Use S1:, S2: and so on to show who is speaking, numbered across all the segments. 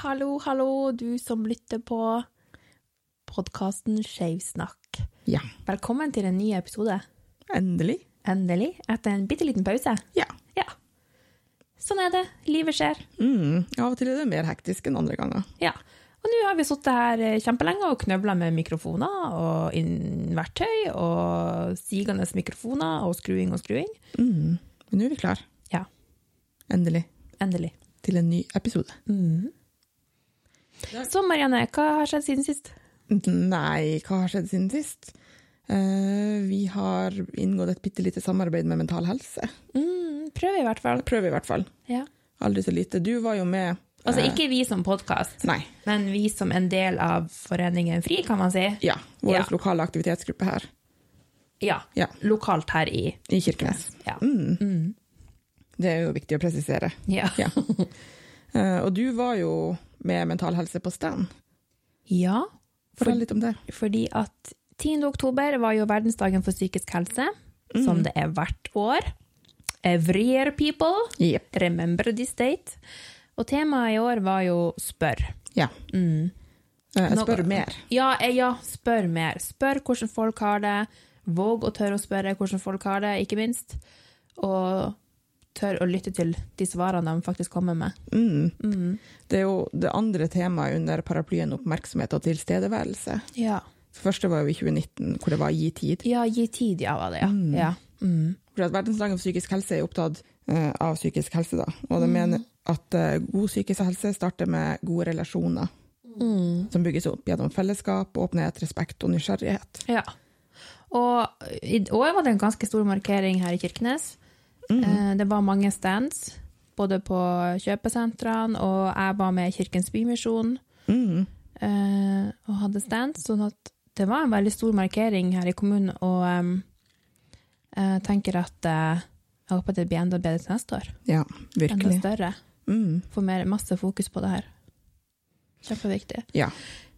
S1: hallo, hallo, du som lytter på podkasten Skeivsnakk.
S2: Ja.
S1: Velkommen til en ny episode.
S2: Endelig.
S1: Endelig, etter en bitte liten pause.
S2: Ja.
S1: Ja. Sånn er det. Livet skjer.
S2: Mm. Av og til er det mer hektisk enn andre ganger.
S1: Ja. Og nå har vi sittet her eh, kjempelenge og knøvla med mikrofoner og inn verktøy og sigende mikrofoner og skruing og skruing.
S2: Mm. Men nå er vi klar.
S1: Ja.
S2: Endelig.
S1: Endelig. Mm.
S2: Til en ny episode.
S1: Så Marianne, hva har skjedd siden sist?
S2: Nei, hva har skjedd siden sist? Eh, vi har inngått et bitte lite samarbeid med Mental Helse.
S1: Mm, prøv i hvert fall.
S2: Prøv i hvert fall.
S1: Ja.
S2: Aldri så lite. Du var jo med
S1: Altså
S2: eh,
S1: ikke vi som podkast.
S2: Nei.
S1: Men vi som en del av Foreningen FRI, kan man si.
S2: Ja. Vår
S1: Ja.
S2: lokale aktivitetsgruppe her
S1: Ja.
S2: Ja.
S1: Lokalt her i
S2: i Kirkenes.
S1: Ja.
S2: Mm. Det er jo viktig å presisere.
S1: Ja.
S2: Ja. Eh, og du var jo med Mental Helse på stand.
S1: ja
S2: Fortell litt om det.
S1: fordi at 10. oktober var jo verdensdagen for psykisk helse,
S2: Mm.
S1: som det er hvert år. Every year, people.
S2: Jepp.
S1: Remember this date. Og temaet i år var jo spør. Mm.
S2: Ja. Eh, Jeg spør
S1: Nå-
S2: mer.
S1: Ja, eh, ja, spør mer. Spør hvordan folk har det. Våg å tørre å spørre hvordan folk har det, ikke minst. Og tør å lytte til de svarene de faktisk kommer med.
S2: Mm. Det er jo det andre temaet under paraplyen oppmerksomhet og tilstedeværelse.
S1: Ja.
S2: Det første var jo i 2019, hvor det var gi tid.
S1: Ja, gi tid, ja, var det, ja. ja. Mm.
S2: For at Verdensdagen for psykisk helse er opptatt eh, av psykisk helse, da. og de mener at eh, god psykisk helse starter med gode relasjoner,
S1: Mm.
S2: som bygges opp gjennom fellesskap, åpenhet, respekt og nysgjerrighet.
S1: Ja. Og i år var det en ganske stor markering her i Kirkenes.
S2: Mm.
S1: Eh, Det var mange stands, både på kjøpesentrene, og jeg var med i Kirkens Bymisjon
S2: Mm.
S1: eh, og hadde stands, sånn at det var en veldig stor markering her i kommunen, og em, jeg tenker at eh, jeg håper det blir enda bedre til neste år.
S2: Ja,
S1: Enda
S2: virkelig.
S1: større.
S2: Mm.
S1: Få mer, masse fokus på det her. Kjempeviktig.
S2: Ja.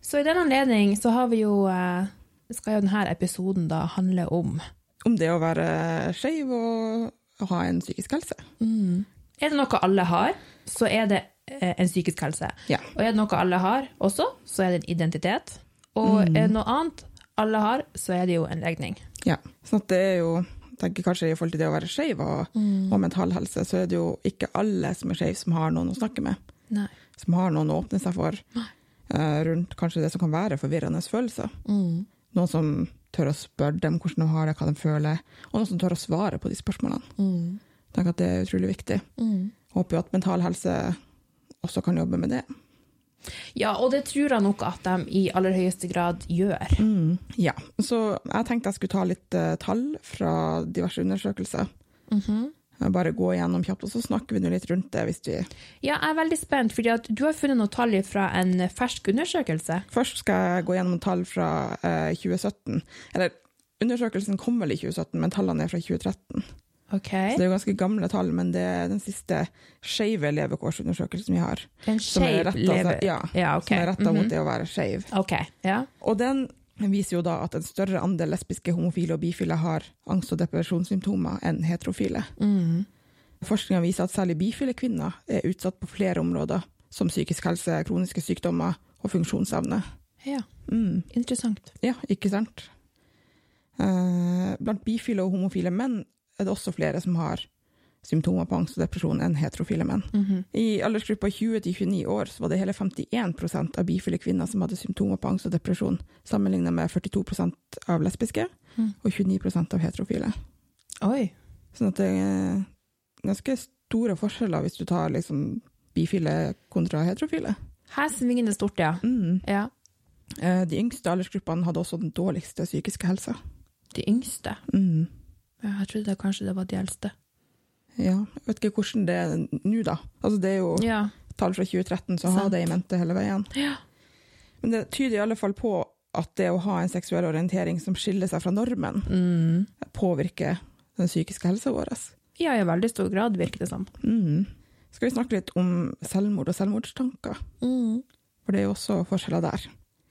S1: Så i den anledning så har vi jo eh, skal jo denne episoden da handle om.
S2: Om det å være skeiv og ha en psykisk helse. Mm.
S1: Er det noe alle har, så er det eh, en psykisk helse.
S2: Ja.
S1: Og er det noe alle har også, så er det en identitet. Og
S2: Mm.
S1: er det noe annet alle har, så er det jo en legning.
S2: Ja, sånn at det er jo jeg tenker kanskje I forhold til det å være skeiv og,
S1: Mm.
S2: og mental helse, så er det jo ikke alle som er skeiv som har noen å snakke med.
S1: Nei.
S2: Som har noen å åpne seg for eh, rundt kanskje det som kan være forvirrende følelser.
S1: Mm.
S2: Noen som tør å spørre dem hvordan de har det, hva de føler, og noen som tør å svare på de
S1: Mm.
S2: spørsmålene. Jeg tenker at det er utrolig viktig. Håper jo at mental helse også kan jobbe med det.
S1: Ja, og det tror jeg nok at de i aller høyeste grad gjør.
S2: Ja, så jeg tenkte jeg skulle ta litt eh, tall fra diverse undersøkelser.
S1: Mm-hmm.
S2: Eh, Bare gå igjennom kjapt, og så snakker vi nå litt rundt det hvis vi
S1: Ja, jeg er veldig spent, fordi at du har funnet noen tall fra en fersk undersøkelse.
S2: Først skal jeg gå gjennom tall fra eh, 2017. Eller, undersøkelsen kom vel i 2017, men tallene er fra 2013.
S1: Ok.
S2: Så det er jo ganske gamle tall, men det er den siste skeive levekårsundersøkelsen vi har.
S1: En
S2: Som er
S1: skeiv
S2: rettet,
S1: lever.
S2: ja,
S1: altså, ja, ok.
S2: Som er retta
S1: Mhm.
S2: mot det å være skeiv.
S1: Ok, ja.
S2: Og den viser jo da at en større andel lesbiske, homofile og bifile har angst- og depresjonssymptomer enn heterofile.
S1: Mhm.
S2: Forskninga viser at særlig bifile kvinner er utsatt på flere områder, som psykisk helse, kroniske sykdommer og funksjonsevne.
S1: Ja,
S2: Mm.
S1: interessant.
S2: Ja, ikke sant? Eh, blant bifile og homofile menn er det også flere som har symptomer på angst og depresjon enn heterofile menn.
S1: Mm-hmm.
S2: I aldersgruppa 20 til 29 år så var det hele 51 av bifile kvinner som hadde symptomer på angst og depresjon, sammenlignet med 42 av lesbiske
S1: Mhm.
S2: og 29 av heterofile.
S1: Oi.
S2: Sånn at det er ganske store forskjeller hvis du tar liksom bifile kontra heterofile.
S1: Her svinger det stort, ja.
S2: Mm.
S1: ja.
S2: Eh, de yngste aldersgruppene hadde også den dårligste psykiske helsa.
S1: De yngste.
S2: Mm.
S1: Ja, Jeg trodde kanskje det var de eldste.
S2: Ja, jeg vet ikke hvordan det er nå, da. Altså, det er jo
S1: Ja.
S2: tall fra 2013, så ha
S1: Sant.
S2: det i mente hele veien.
S1: Ja.
S2: Men det tyder i alle fall på at det å ha en seksuell orientering som skiller seg fra normen,
S1: Mm.
S2: påvirker den psykiske helsa vår.
S1: ja, i veldig stor grad virker det som.
S2: Mm. Skal vi snakke litt om selvmord og selvmordstanker?
S1: Mm.
S2: For det er jo også forskjeller der.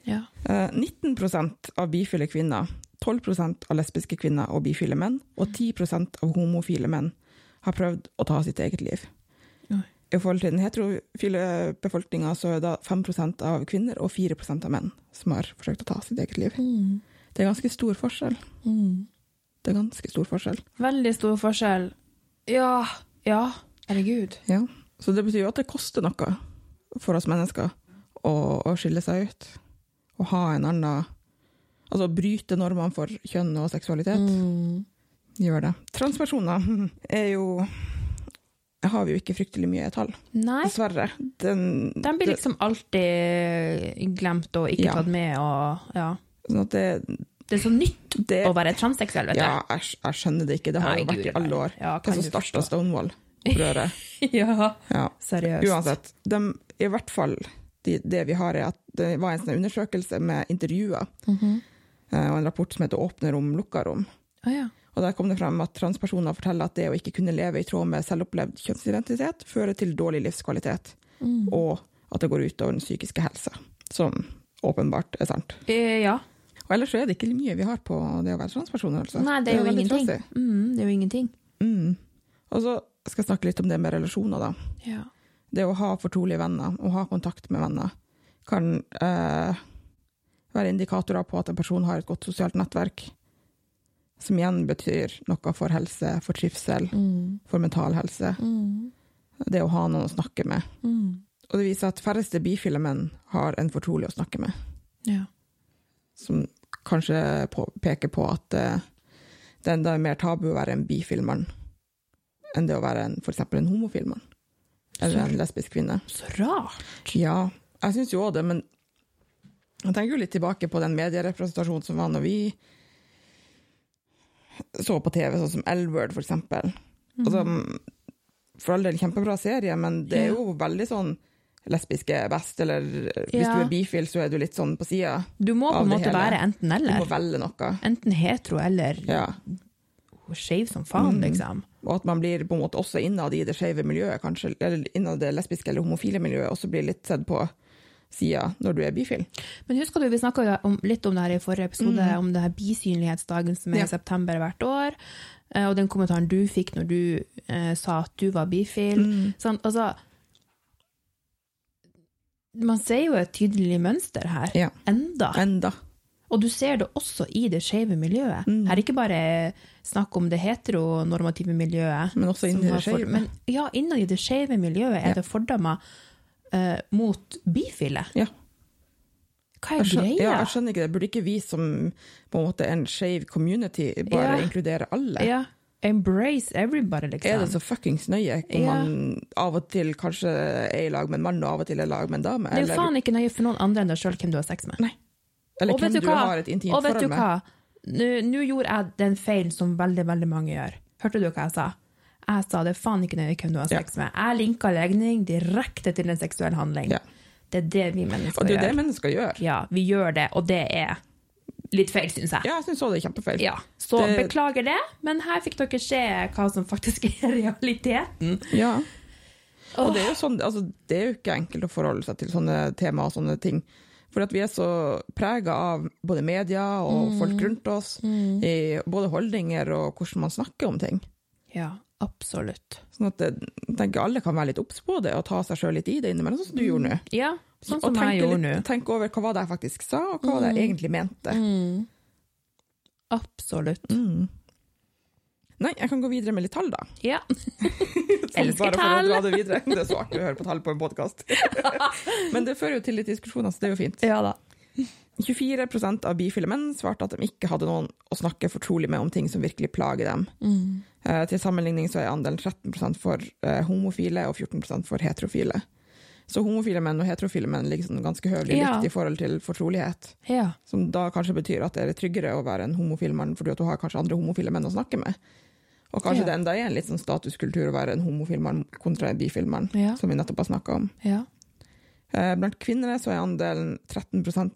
S1: Ja.
S2: Eh, 19 av bifile kvinner, 12 av lesbiske kvinner og bifile menn, og 10 av homofile menn har prøvd å ta sitt eget liv.
S1: Oi.
S2: I forhold til den heterofile befolkninga så er det 5 av kvinner og 4 av menn som har forsøkt å ta sitt eget liv.
S1: Mm.
S2: Det er ganske stor forskjell.
S1: Mm.
S2: Det er ganske stor forskjell.
S1: Veldig stor forskjell. Ja. Ja. Herregud.
S2: Ja. Så det betyr jo at det koster noe for oss mennesker å, å skille seg ut. Å ha en annen Altså å bryte normene for kjønn og seksualitet.
S1: Mm.
S2: Gjør det. Transpersoner er jo Har vi jo ikke fryktelig mye tall,
S1: Nei.
S2: dessverre. Den,
S1: De blir liksom alltid glemt og ikke
S2: Ja.
S1: tatt med og Ja.
S2: det, sånn at det,
S1: Det er så nytt
S2: det
S1: å være transseksuell, vet du.
S2: Ja, jeg, sk- jeg skjønner det ikke. Det har
S1: Nei,
S2: jo vært
S1: guri
S2: i alle
S1: meg.
S2: år.
S1: Ja,
S2: Hva
S1: kan
S2: som
S1: du
S2: starta
S1: forstå.
S2: Stonewall-opprøret.
S1: Ja,
S2: Ja.
S1: seriøst.
S2: Uansett. De, I hvert fall de, det vi har, er at det var en sånn undersøkelse med intervjuer
S1: Mhm.
S2: eh, og en rapport som heter 'Åpne rom, lukka rom'.
S1: Å ja.
S2: Og Der kom det frem at transpersoner forteller at det å ikke kunne leve i tråd med selvopplevd kjønnsidentitet fører til dårlig livskvalitet,
S1: Mm.
S2: og at det går ut over den psykiske helse. Som åpenbart er sant.
S1: Eh, ja.
S2: Og ellers så er det ikke mye vi har på det å være transperson. Altså.
S1: Nei, det er jo
S2: veldig
S1: ingenting.
S2: trasig.
S1: Mm, det er jo ingenting.
S2: Mm. Og så skal jeg snakke litt om det med relasjoner, da.
S1: Ja.
S2: Det å ha fortrolige venner, å ha kontakt med venner, kan eh, være indikatorer på at en person har et godt sosialt nettverk. Som igjen betyr noe for helse, for trivsel,
S1: Mm.
S2: for mental helse.
S1: Mm.
S2: Det å ha noen å snakke med.
S1: Mm.
S2: Og det viser at færreste bifile menn har en fortrolig å snakke med,
S1: Ja.
S2: som kanskje på, peker på at eh, det enda er mer tabu å være en bifil mann enn det å være en, for eksempel en homofil mann. Eller en lesbisk kvinne.
S1: Så rart.
S2: Ja, jeg syns jo òg det, men jeg tenker jo litt tilbake på den medierepresentasjonen som var når vi så på TV, sånn som L-Word, for eksempel.
S1: Mhm.
S2: Altså,
S1: Mm.
S2: for all del kjempebra serie, men det er jo veldig sånn lesbiske best, eller eh, hvis
S1: Ja.
S2: du er bifil, så er du litt sånn på sida.
S1: Du må på
S2: Av
S1: en
S2: det hele.
S1: måte være enten
S2: Du må
S1: eller.
S2: velge noe.
S1: Enten hetero eller
S2: Ja.
S1: skeiv som faen,
S2: Mm.
S1: liksom.
S2: Og at man blir på en måte også innad i det skeive miljøet, kanskje, eller innad det lesbiske eller homofile miljøet, også blir litt sett på sida når du er bifil.
S1: Men husker du, vi snakka litt om det her i forrige episode, om det her bisynlighetsdagen som er
S2: Mm. Ja.
S1: i september hvert år, eh, og den kommentaren du fikk når du eh, sa at du var
S2: Mm.
S1: bifil. Sånn, altså Man ser jo et tydelig mønster her,
S2: Ja.
S1: enda.
S2: Enda.
S1: Og du ser det også i det skeive miljøet.
S2: Mm.
S1: Her er ikke bare snakk om det heteronormative miljøet.
S2: Men også
S1: som
S2: inni det
S1: har for-
S2: skeive.
S1: Men ja, innad i det skeive miljøet er
S2: Ja.
S1: det fordommer eh, mot bifile.
S2: Ja.
S1: Hva
S2: Jeg
S1: er
S2: skjønner,
S1: greia?
S2: ja, jeg skjønner ikke det. Burde ikke vi som på en måte en skeiv community bare
S1: Ja.
S2: inkludere alle?
S1: Ja. Embrace everybody, liksom.
S2: Er det så fuckings nøye om
S1: Ja.
S2: man av og til kanskje er i lag med en mann, og av og til er i lag med en dame?
S1: Det er jo
S2: eller-
S1: faen ikke nøye for noen andre enn deg sjøl hvem du har sex med.
S2: Nei. Eller hvem du, har et intimt
S1: og vet
S2: forhold
S1: du
S2: med.
S1: hva? Nå nå gjorde jeg den feilen som veldig veldig mange gjør. Hørte du hva jeg sa? Jeg sa det er faen ikke nøye hvem du har
S2: Ja.
S1: sex med. Jeg linka legning direkte til en seksuell handling.
S2: Ja.
S1: Det er det vi
S2: Og
S1: mennesker
S2: det er jo det
S1: gjør.
S2: mennesker gjør.
S1: Ja, vi gjør det, og det er litt feil, syns jeg.
S2: Ja, jeg syns òg det er kjempefeil.
S1: Ja. Så
S2: Det-
S1: beklager det, men her fikk dere se hva som faktisk er realiteten.
S2: Ja. Og det er, jo sånn, altså, det er jo ikke enkelt å forholde seg til sånne temaer og sånne ting. For at vi er så prega av både media
S1: Mm.
S2: og folk rundt oss, i både holdninger og hvordan man snakker om ting.
S1: Ja, absolutt.
S2: Sånn at jeg tenker alle kan være litt obs på det og ta seg sjøl litt i det innimellom, sånn som du gjorde nå.
S1: Ja, Mm. sånn
S2: og
S1: som
S2: tenke
S1: jeg gjorde nå. Mm.
S2: litt- tenke over hva var det jeg faktisk sa, og hva var det jeg egentlig mente. Mm.
S1: Absolutt.
S2: Nei, jeg kan gå videre med litt tall, da.
S1: Ja.
S2: Sånn,
S1: Elsker
S2: bare
S1: tall.
S2: for å dra det videre. Det er så artig å høre på tall på en podkast. Men det fører jo til litt diskusjoner, så det er jo fint.
S1: ja da.
S2: 24 av bifile menn svarte at de ikke hadde noen å snakke fortrolig med om ting som virkelig plager dem.
S1: Mm.
S2: Eh, til sammenligning så er andelen 13 for eh, homofile og 14 for heterofile. Så homofile menn og heterofile menn ligger sånn ganske høvelig
S1: Ja.
S2: likt i forhold til fortrolighet.
S1: Ja.
S2: Som da kanskje betyr at det er tryggere å være en homofil mann, fordi at du har kanskje andre homofile menn å snakke med. Og kanskje
S1: Ja.
S2: det enda er en litt sånn statuskultur å være en homofil mann kontra en bifil mann,
S1: Ja.
S2: som vi nettopp har snakka om.
S1: ja.
S2: Eh, Blant kvinner så er andelen 13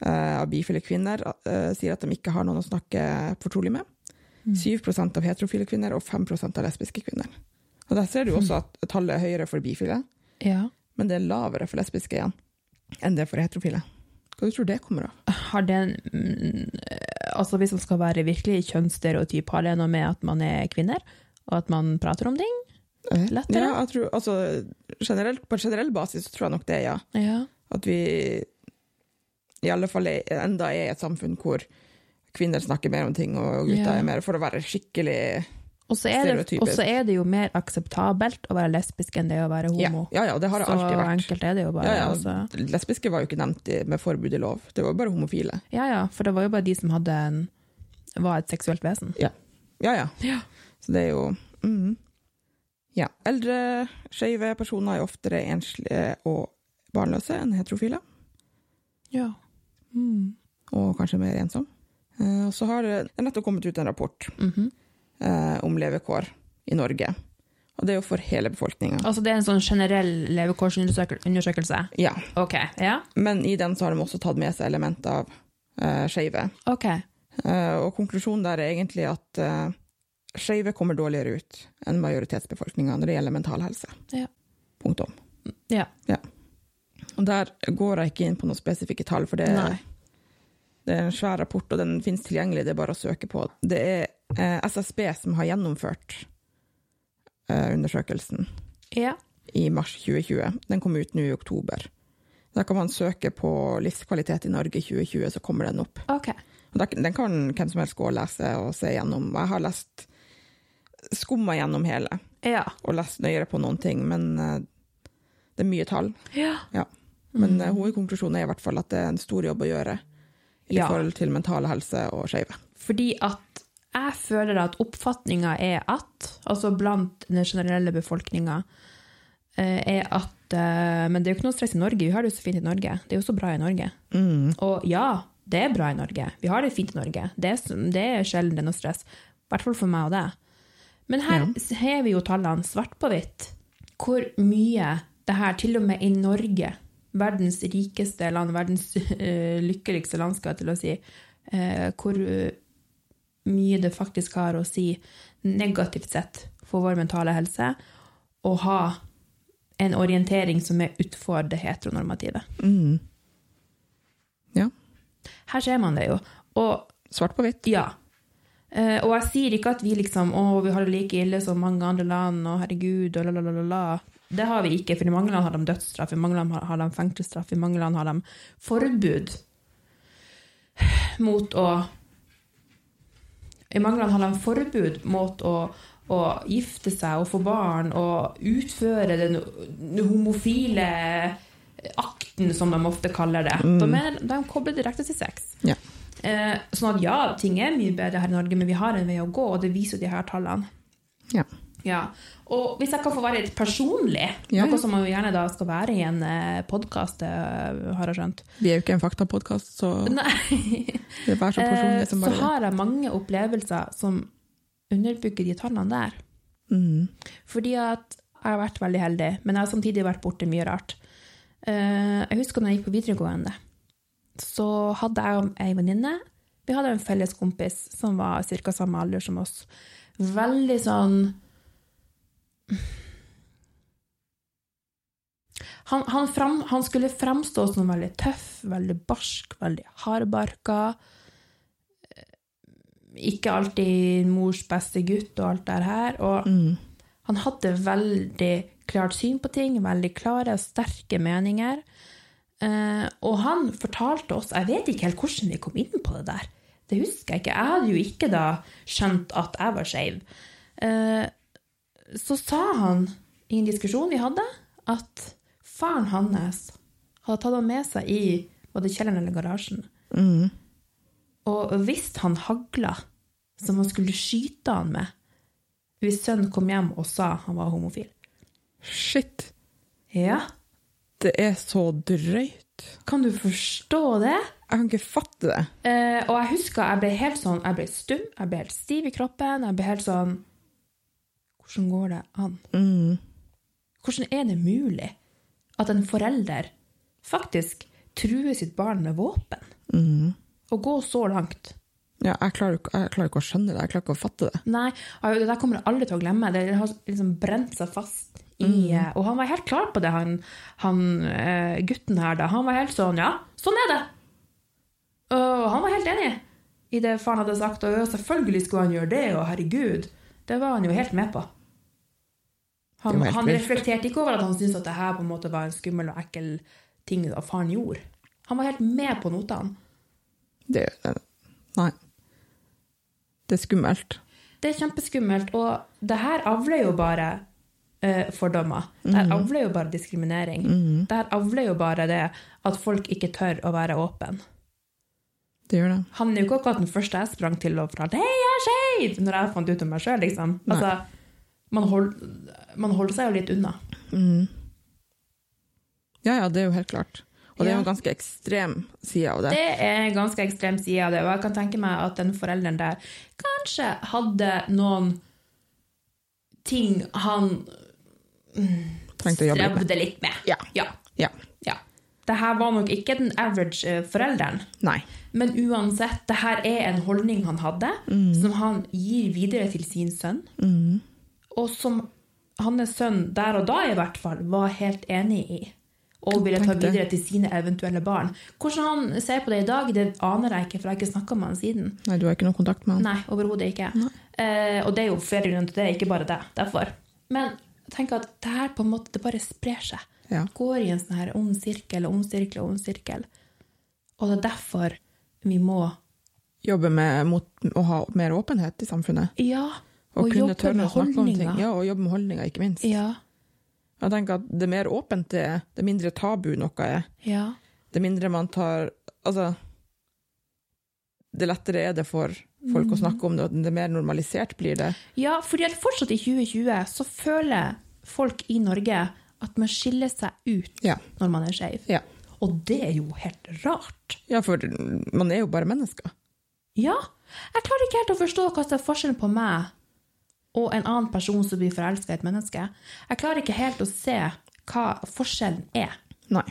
S2: eh, av bifile kvinner eh, sier at de ikke har noen å snakke fortrolig med.
S1: Mm.
S2: 7 av heterofile kvinner og 5 av lesbiske kvinner. Og Der ser du også at tallet er høyere for bifile,
S1: Ja.
S2: men det er lavere for lesbiske igjen enn det er for heterofile. Hva du tror det kommer av?
S1: Har den mm, Altså, hvis man skal være virkelig kjønnsstereotyp, har det noe med at man er kvinner, og at man prater om ting?
S2: Eh,
S1: Lettere?
S2: Ja, jeg tror, altså, generelt, på en generell basis så tror jeg nok det, ja.
S1: Ja.
S2: At vi i alle fall er, enda er et samfunn hvor kvinner snakker mer om ting, og gutter
S1: Ja.
S2: er mer for å være skikkelig
S1: Og så er, det-
S2: Stereotypisk.
S1: og så er det jo mer akseptabelt å være lesbisk enn det å være
S2: ja,
S1: homo.
S2: ja, ja, det har det
S1: så
S2: alltid vært.
S1: enkelt er det jo bare.
S2: Ja, ja.
S1: Altså.
S2: Lesbiske var jo ikke nevnt i- med forbud i lov, det var jo bare homofile.
S1: ja ja, for det var jo bare de som hadde en, var et seksuelt vesen.
S2: Ja, ja.
S1: Ja.
S2: Så det er jo mhm. Ja. Eldre skeive personer er oftere enslige og barnløse enn heterofile,
S1: Ja. Mm.
S2: og kanskje mer ensom. Eh, Og så har det det er nettopp kommet ut en rapport
S1: Mhm.
S2: eh, om levekår i Norge. Og det er jo for hele befolkninga.
S1: Altså det er en sånn generell levekårsundersøkelse?
S2: Ja.
S1: OK. Ja?
S2: Men i den så har de også tatt med seg elementer av eh, skeive.
S1: Ok.
S2: Eh, og konklusjonen der er egentlig at eh, skeive kommer dårligere ut enn majoritetsbefolkninga når det gjelder mental helse.
S1: Ja.
S2: Punktum.
S1: Ja.
S2: Og der går jeg ikke inn på noen spesifikke tall, for det,
S1: Nei.
S2: det er en svær rapport, og den finnes tilgjengelig, det er bare å søke på. Det er eh, SSB som har gjennomført eh, undersøkelsen
S1: Ja.
S2: i mars 2020. Den kom ut nå i oktober. Da kan man søke på livskvalitet i Norge 2020, så kommer den opp.
S1: OK.
S2: Og da- Den kan hvem som helst gå og lese og se gjennom. Og Jeg har lest skumma gjennom hele,
S1: Ja.
S2: og lest nøyere på noen ting, men eh, det er mye tall.
S1: Ja.
S2: Ja. Men eh, hovedkonklusjonen er i hvert fall at det er en stor jobb å gjøre i
S1: Ja.
S2: forhold til mental helse og skeive.
S1: Fordi at jeg føler at oppfatninga er at, altså blant den generelle befolkninga, eh, er at eh, Men det er jo ikke noe stress i Norge, vi har det jo så fint i Norge. Det er jo så bra i Norge.
S2: Mm,
S1: Og ja, det er bra i Norge. Vi har det fint i Norge. Det er, s- det er sjelden det er noe stress. I hvert fall for meg og deg. Men her har vi jo tallene svart på hvitt. Hvor mye det her, til og med i Norge, verdens rikeste land, verdens eh, lykkeligste land, skal jeg til å si, eh, hvor eh, mye det faktisk har å si negativt sett for vår mentale helse å ha en orientering som er utfor det heteronormative.
S2: mm. Ja.
S1: Her ser man det jo. Og
S2: Svart på hvitt.
S1: ja. Eh, og jeg sier ikke at vi liksom Å, vi har det like ille som mange andre land, og herregud, og la, la, la, la, la. Det har vi ikke, for i mange land har de dødsstraff, i mange land har- har de fengselsstraff, i mange land har de forbud mot å I mange land har de forbud mot å, å gifte seg og få barn og utføre den homofile akten, som de ofte kaller det. De, er, de kobler direkte til sex.
S2: Ja.
S1: Eh, sånn at ja, ting er mye bedre her i Norge, men vi har en vei å gå, og det viser jo de her tallene.
S2: Ja.
S1: Ja. Og hvis jeg kan få være litt personlig,
S2: Ja, ja.
S1: noe som man jo gjerne da skal være i en podkast, har jeg skjønt.
S2: Vi er jo ikke en faktapodkast, så
S1: Nei.
S2: det er vær så personlig som
S1: Eh,
S2: bare
S1: så har jeg mange opplevelser som underbygger de tallene der.
S2: Mhm.
S1: Fordi at jeg har vært veldig heldig, men jeg har samtidig vært borte mye rart. Eh, Jeg husker når jeg gikk på videregående, så hadde jeg og ei venninne Vi hadde en felles kompis som var ca. samme alder som oss. Veldig sånn Han, han, fram, han skulle fremstå som veldig tøff, veldig barsk, veldig hardbarka. Eh, Ikke alltid mors beste gutt og alt det her. Og
S2: Mhm.
S1: han hadde veldig klart syn på ting, veldig klare og sterke meninger. Eh, og han fortalte oss Jeg vet ikke helt hvordan vi kom inn på det der. Det husker jeg ikke. Jeg hadde jo ikke da skjønt at jeg var skeiv. Eh, så sa han i en diskusjon vi hadde, at faren hans hadde tatt han med seg i både kjelleren eller garasjen.
S2: Mhm.
S1: Og hvis han hagla, som han skulle skyte han med, hvis sønnen kom hjem og sa han var homofil.
S2: Shit,
S1: Ja,
S2: det er så drøyt.
S1: kan du forstå det?
S2: Jeg kan ikke fatte det.
S1: Eh, og jeg husker jeg ble helt sånn, jeg ble stum, jeg ble helt stiv i kroppen, jeg ble helt sånn, hvordan går det an?
S2: Mhm.
S1: Hvordan er det mulig at en forelder faktisk truer sitt barn med våpen?
S2: Mhm.
S1: Og går så langt?
S2: Ja, jeg klarer, ikke- jeg klarer ikke å skjønne det, jeg klarer ikke å fatte det.
S1: Nei, og det der kommer jeg aldri til å glemme. Det har liksom brent seg fast i
S2: Mm.
S1: eh, Og han var helt klar på det, han, han eh, gutten her, da. Han var helt sånn Ja, sånn er det! Og han var helt enig i det faren hadde sagt. Og selvfølgelig skulle han gjøre det, og herregud. Det var han jo helt med på. Han,
S2: Det var helt
S1: han
S2: vilt.
S1: reflekterte ikke over at han syntes at det her på en måte var en skummel og ekkel ting at faren gjorde. Han var helt med på notene.
S2: Det eh, Nei. Det er skummelt.
S1: Det er kjempeskummelt, og det her avler jo bare eh, fordommer. Det her avler jo bare diskriminering.
S2: Mhm.
S1: Det her avler jo bare det at folk ikke tør å være åpen.
S2: Det gjør det.
S1: Han er jo ikke akkurat den første jeg sprang til og fortalte 'hei, jeg er skeiv', når jeg fant ut om meg sjøl, liksom.
S2: Nei.
S1: Altså, man, hold, man holder seg jo litt unna.
S2: Mhm. Ja, ja, det er jo helt klart. Og det er jo
S1: Ja.
S2: en ganske ekstrem side av det.
S1: Det er en ganske ekstrem side av det, og jeg kan tenke meg at den forelderen der kanskje hadde noen ting han
S2: Trengte å jobbe litt med.
S1: strevde litt med.
S2: Ja.
S1: Ja.
S2: ja.
S1: ja. Det her var nok ikke den average eh, forelderen,
S2: Nei.
S1: men uansett, det her er en holdning han hadde, som han gir videre til sin sønn,
S2: Mhm.
S1: og som hans sønn der og da i hvert fall var helt enig i. Og ville ta
S2: Tenk det.
S1: videre til sine eventuelle barn. Hvordan han ser på det i dag, det aner jeg ikke, for jeg har ikke snakka med han siden.
S2: Nei, du har ikke noe kontakt med han.
S1: Nei, overhodet ikke. Eh, og det er jo flere grunner til det, ikke bare det. Derfor. Men tenk at det her på en måte, det bare sprer seg.
S2: Ja.
S1: Går i en sånn her ond sirkel og ond sirkel og ond sirkel. Og det er derfor vi må
S2: Jobbe med mot, å ha mer åpenhet i samfunnet.
S1: Ja,
S2: Og,
S1: og
S2: kunne
S1: jobbe
S2: tørre
S1: med
S2: å snakke om ting.
S1: holdninger.
S2: Ja, og jobbe med holdninger, ikke minst.
S1: Ja,
S2: Jeg tenker at det mer åpent det er, det mindre tabu noe er.
S1: ja.
S2: Det mindre man tar Altså Det lettere er det for folk å snakke om det, og det mer normalisert blir det.
S1: Ja, fordi at fortsatt i 2020 så føler folk i Norge at man skiller seg ut
S2: Ja.
S1: når man er skeiv.
S2: Ja.
S1: Og det er jo helt rart.
S2: ja, for man er jo bare mennesker.
S1: Ja. Jeg klarer ikke helt å forstå hva som er forskjellen på meg og en annen person som blir forelska i et menneske. Jeg klarer ikke helt å se hva forskjellen er.
S2: Nei.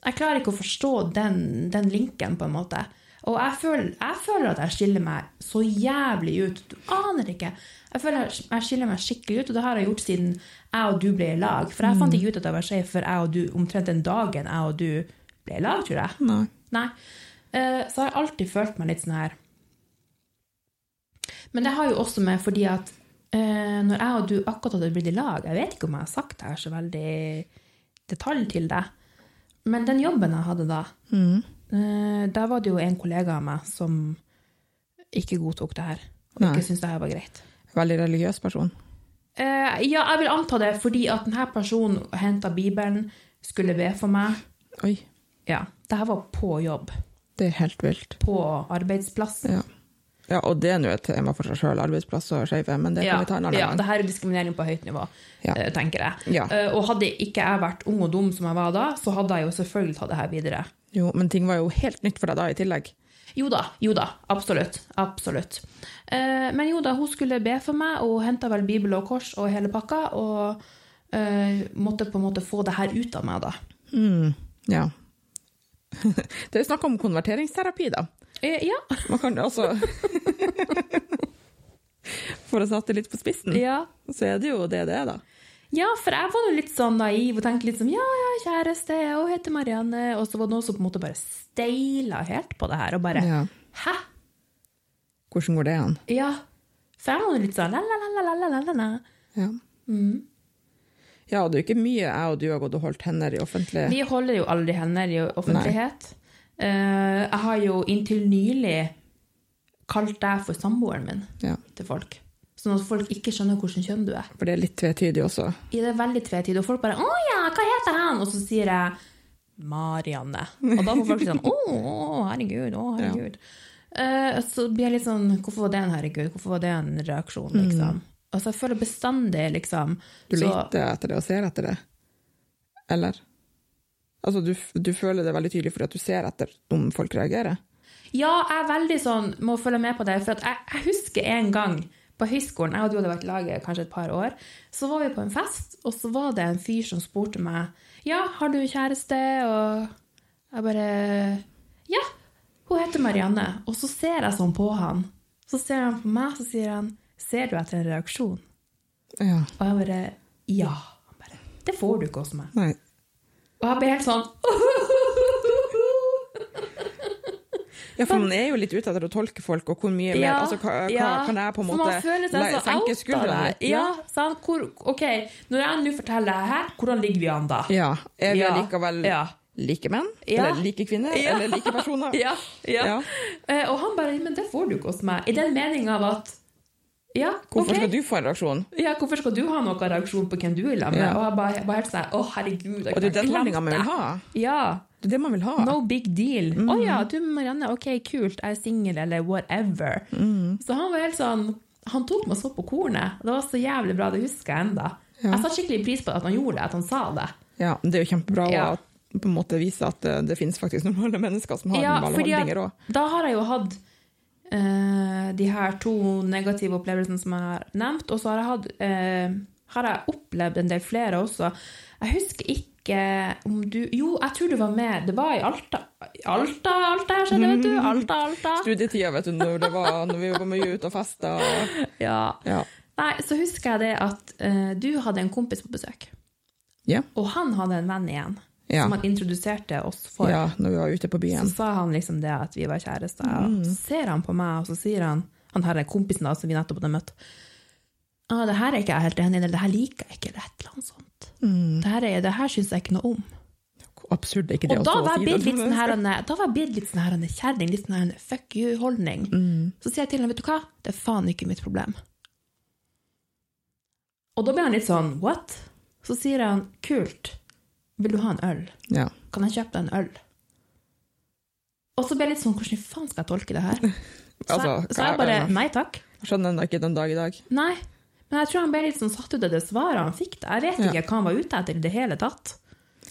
S1: Jeg klarer ikke å forstå den, den linken, på en måte. Og jeg føler, jeg føler at jeg skiller meg så jævlig ut. Du aner ikke. Jeg føler jeg- jeg skiller meg skikkelig ut, og det har jeg gjort siden jeg og du ble i lag. For jeg fant ikke ut at jeg var skeiv før jeg og du omtrent den dagen jeg og du ble i lag, tror jeg.
S2: Nei.
S1: Nei. Eh, Så har jeg alltid følt meg litt sånn her. Men det har jo også med fordi at eh, når jeg og du akkurat hadde blitt i lag Jeg vet ikke om jeg har sagt det her så veldig i detalj til deg, men den jobben jeg hadde da,
S2: Mhm.
S1: eh, der var det jo en kollega av meg som ikke godtok det her. Og
S2: Nei.
S1: ikke syntes det her var greit.
S2: Veldig religiøs person.
S1: Eh, ja, jeg vil anta det, fordi at denne personen henta Bibelen, skulle be for meg.
S2: Oi,
S1: Ja, det her var på jobb.
S2: det er helt vilt.
S1: På arbeidsplassen.
S2: Ja. ja, og det er nå et tema for seg sjøl, arbeidsplass og skeive, men det kan vi ta en annen
S1: ja,
S2: gang.
S1: det her er diskriminering på høyt nivå,
S2: Ja.
S1: eh, tenker jeg.
S2: Ja.
S1: Eh, Og hadde ikke jeg vært ung og dum som jeg var da, så hadde jeg jo selvfølgelig tatt det her videre.
S2: Jo, men ting var jo helt nytt for deg da i tillegg.
S1: Jo da, jo da, absolutt. absolutt. Eh, Men jo da, hun skulle be for meg, og henta vel bibel og kors og hele pakka, og eh, måtte på en måte få det her ut av meg, da.
S2: Mm, ja. Det er jo snakk om konverteringsterapi, da.
S1: Eh, Ja,
S2: Man kan jo også For å sette det litt på spissen,
S1: ja.
S2: så er det jo det det er, da.
S1: Ja, for jeg var jo litt sånn naiv og tenkte litt sånn Ja, ja, kjæreste, jeg heter Marianne. Og så var det noen som på en måte bare steila helt på det her, og bare
S2: Ja.
S1: Hæ?
S2: Hvordan går det an?
S1: Ja. For jeg var jo litt sånn la-la-la-la-la-la-la.
S2: Ja.
S1: Mm.
S2: ja, og det er jo ikke mye jeg og du har gått og holdt hender i offentlig
S1: Vi holder jo aldri hender i offentlighet. Eh, jeg har jo inntil nylig kalt deg for samboeren min
S2: ja.
S1: til folk. Sånn at folk ikke skjønner hvilket kjønn du er.
S2: For det er litt tvetydig også.
S1: I det er veldig tvetydig, og folk bare 'Å ja, hva heter han?' Og så sier jeg 'Marianne'. Og da får folk sånn 'Å, å, herregud, å, herregud'. Eh, så blir jeg litt sånn 'Hvorfor var det en herregud? Hvorfor var det en reaksjon?' liksom. Altså, jeg føler bestandig, liksom
S2: Du
S1: så-
S2: leter etter det og ser etter det. Eller? Altså, du, f- du føler det veldig tydelig fordi at du ser etter om folk reagerer.
S1: Ja, jeg er veldig sånn, må følge med på det, for at jeg, jeg husker en gang på høyskolen, jeg og du hadde vært i laget kanskje et par år, så var vi på en fest, og så var det en fyr som spurte meg, ja, har du kjæreste? Og jeg bare, ja, hun heter Marianne. Og så ser jeg sånn på han. Så ser han på meg, så sier han, ser du etter en reaksjon?
S2: Ja.
S1: Og jeg bare, ja. Han bare, det får du ikke hos meg.
S2: Nei.
S1: Og jeg ble helt sånn,
S2: Ja, for man er jo litt ute etter å tolke folk, og hvor mye mer
S1: Ja,
S2: altså, hva, hva,
S1: ja.
S2: kan jeg på en
S1: For man
S2: måte
S1: føler seg
S2: le-
S1: så
S2: senke
S1: out av det.
S2: skuldrene?
S1: her. Ja, sant? Hvor, ok, når jeg nå forteller det her, hvordan ligger vi an da?
S2: Ja. Er vi
S1: Ja.
S2: allikevel
S1: Ja.
S2: like menn?
S1: Ja.
S2: Eller like kvinner?
S1: Ja.
S2: Eller like personer?
S1: Ja, ja.
S2: Ja.
S1: Eh, Og han bare, men det får du ikke hos meg. I den meningen av at, ja,
S2: Hvorfor
S1: ok.
S2: skal du få en reaksjon?
S1: Ja, hvorfor skal du ha noen reaksjon på hvem du vil ha med?
S2: Ja.
S1: Og jeg bare, jeg bare helt sånn, å herregud. jeg
S2: Og det er den
S1: kan klemme
S2: holdninga man
S1: deg.
S2: vil ha.
S1: Ja,
S2: Det er det man vil ha.
S1: no big deal. Å ja, du Marianne, ok, kult, jeg er singel, eller whatever. Så han var helt sånn, han tok meg så på kornet. Det var så jævlig bra, det husker jeg enda.
S2: Ja.
S1: Jeg satt skikkelig pris på at han gjorde det, at han sa det.
S2: Ja, men det er jo kjempebra å
S1: Ja.
S2: på en måte vise at eh, det finnes faktisk normale mennesker som har
S1: Ja,
S2: normale
S1: fordi at-
S2: holdninger òg.
S1: Da har jeg jo hatt eh, de her to negative opplevelsene som jeg har nevnt, og så har jeg, hatt, eh, har jeg opplevd en del flere også. Jeg husker ikke om du Jo, jeg tror du var med. Det var i Alta. Alta, Alta her skjedde, vet du. Alta, Alta.
S2: Studietida, vet du, når, det var, når vi var mye ute og festa. og-
S1: Ja.
S2: Ja.
S1: Nei, så husker jeg det at eh, du hadde en kompis på besøk,
S2: Ja.
S1: og han hadde en venn igjen
S2: Ja.
S1: som han introduserte oss for.
S2: ja, når vi var ute på
S1: Så
S2: byen.
S1: sa han liksom det at vi var kjærester.
S2: Mm.
S1: og Så ser han på meg, og så sier han Han her er kompisen da, som vi nettopp hadde møtt. Ah, 'Det her er ikke jeg helt enig i, eller det her liker jeg ikke', eller et eller annet sånt.
S2: Mm.
S1: Det her, er, det her syns jeg ikke noe om.
S2: Absurd er ikke det
S1: Og da
S2: også å
S1: var jeg
S2: si
S1: blitt
S2: det.
S1: litt sånn her, Anne- da var jeg blitt litt sånn her Anne, kjerring, litt sånn her Anne, fuck you-holdning.
S2: Mm.
S1: Så sier jeg til ham, vet du hva, det er faen ikke mitt problem. Og da blir han litt sånn, what? Så sier han, kult, vil du ha en øl?
S2: Ja.
S1: kan jeg kjøpe deg en øl? Og så ble jeg litt sånn, hvordan i faen skal jeg tolke det her? Så,
S2: Altså,
S1: jeg, så jeg bare, nei takk.
S2: Jeg Skjønner ennå ikke den dag i dag.
S1: Nei. Men jeg tror han ble litt sånn satt ut av det svaret han fikk. Jeg vet
S2: Ja.
S1: ikke hva han var ute etter i det hele tatt.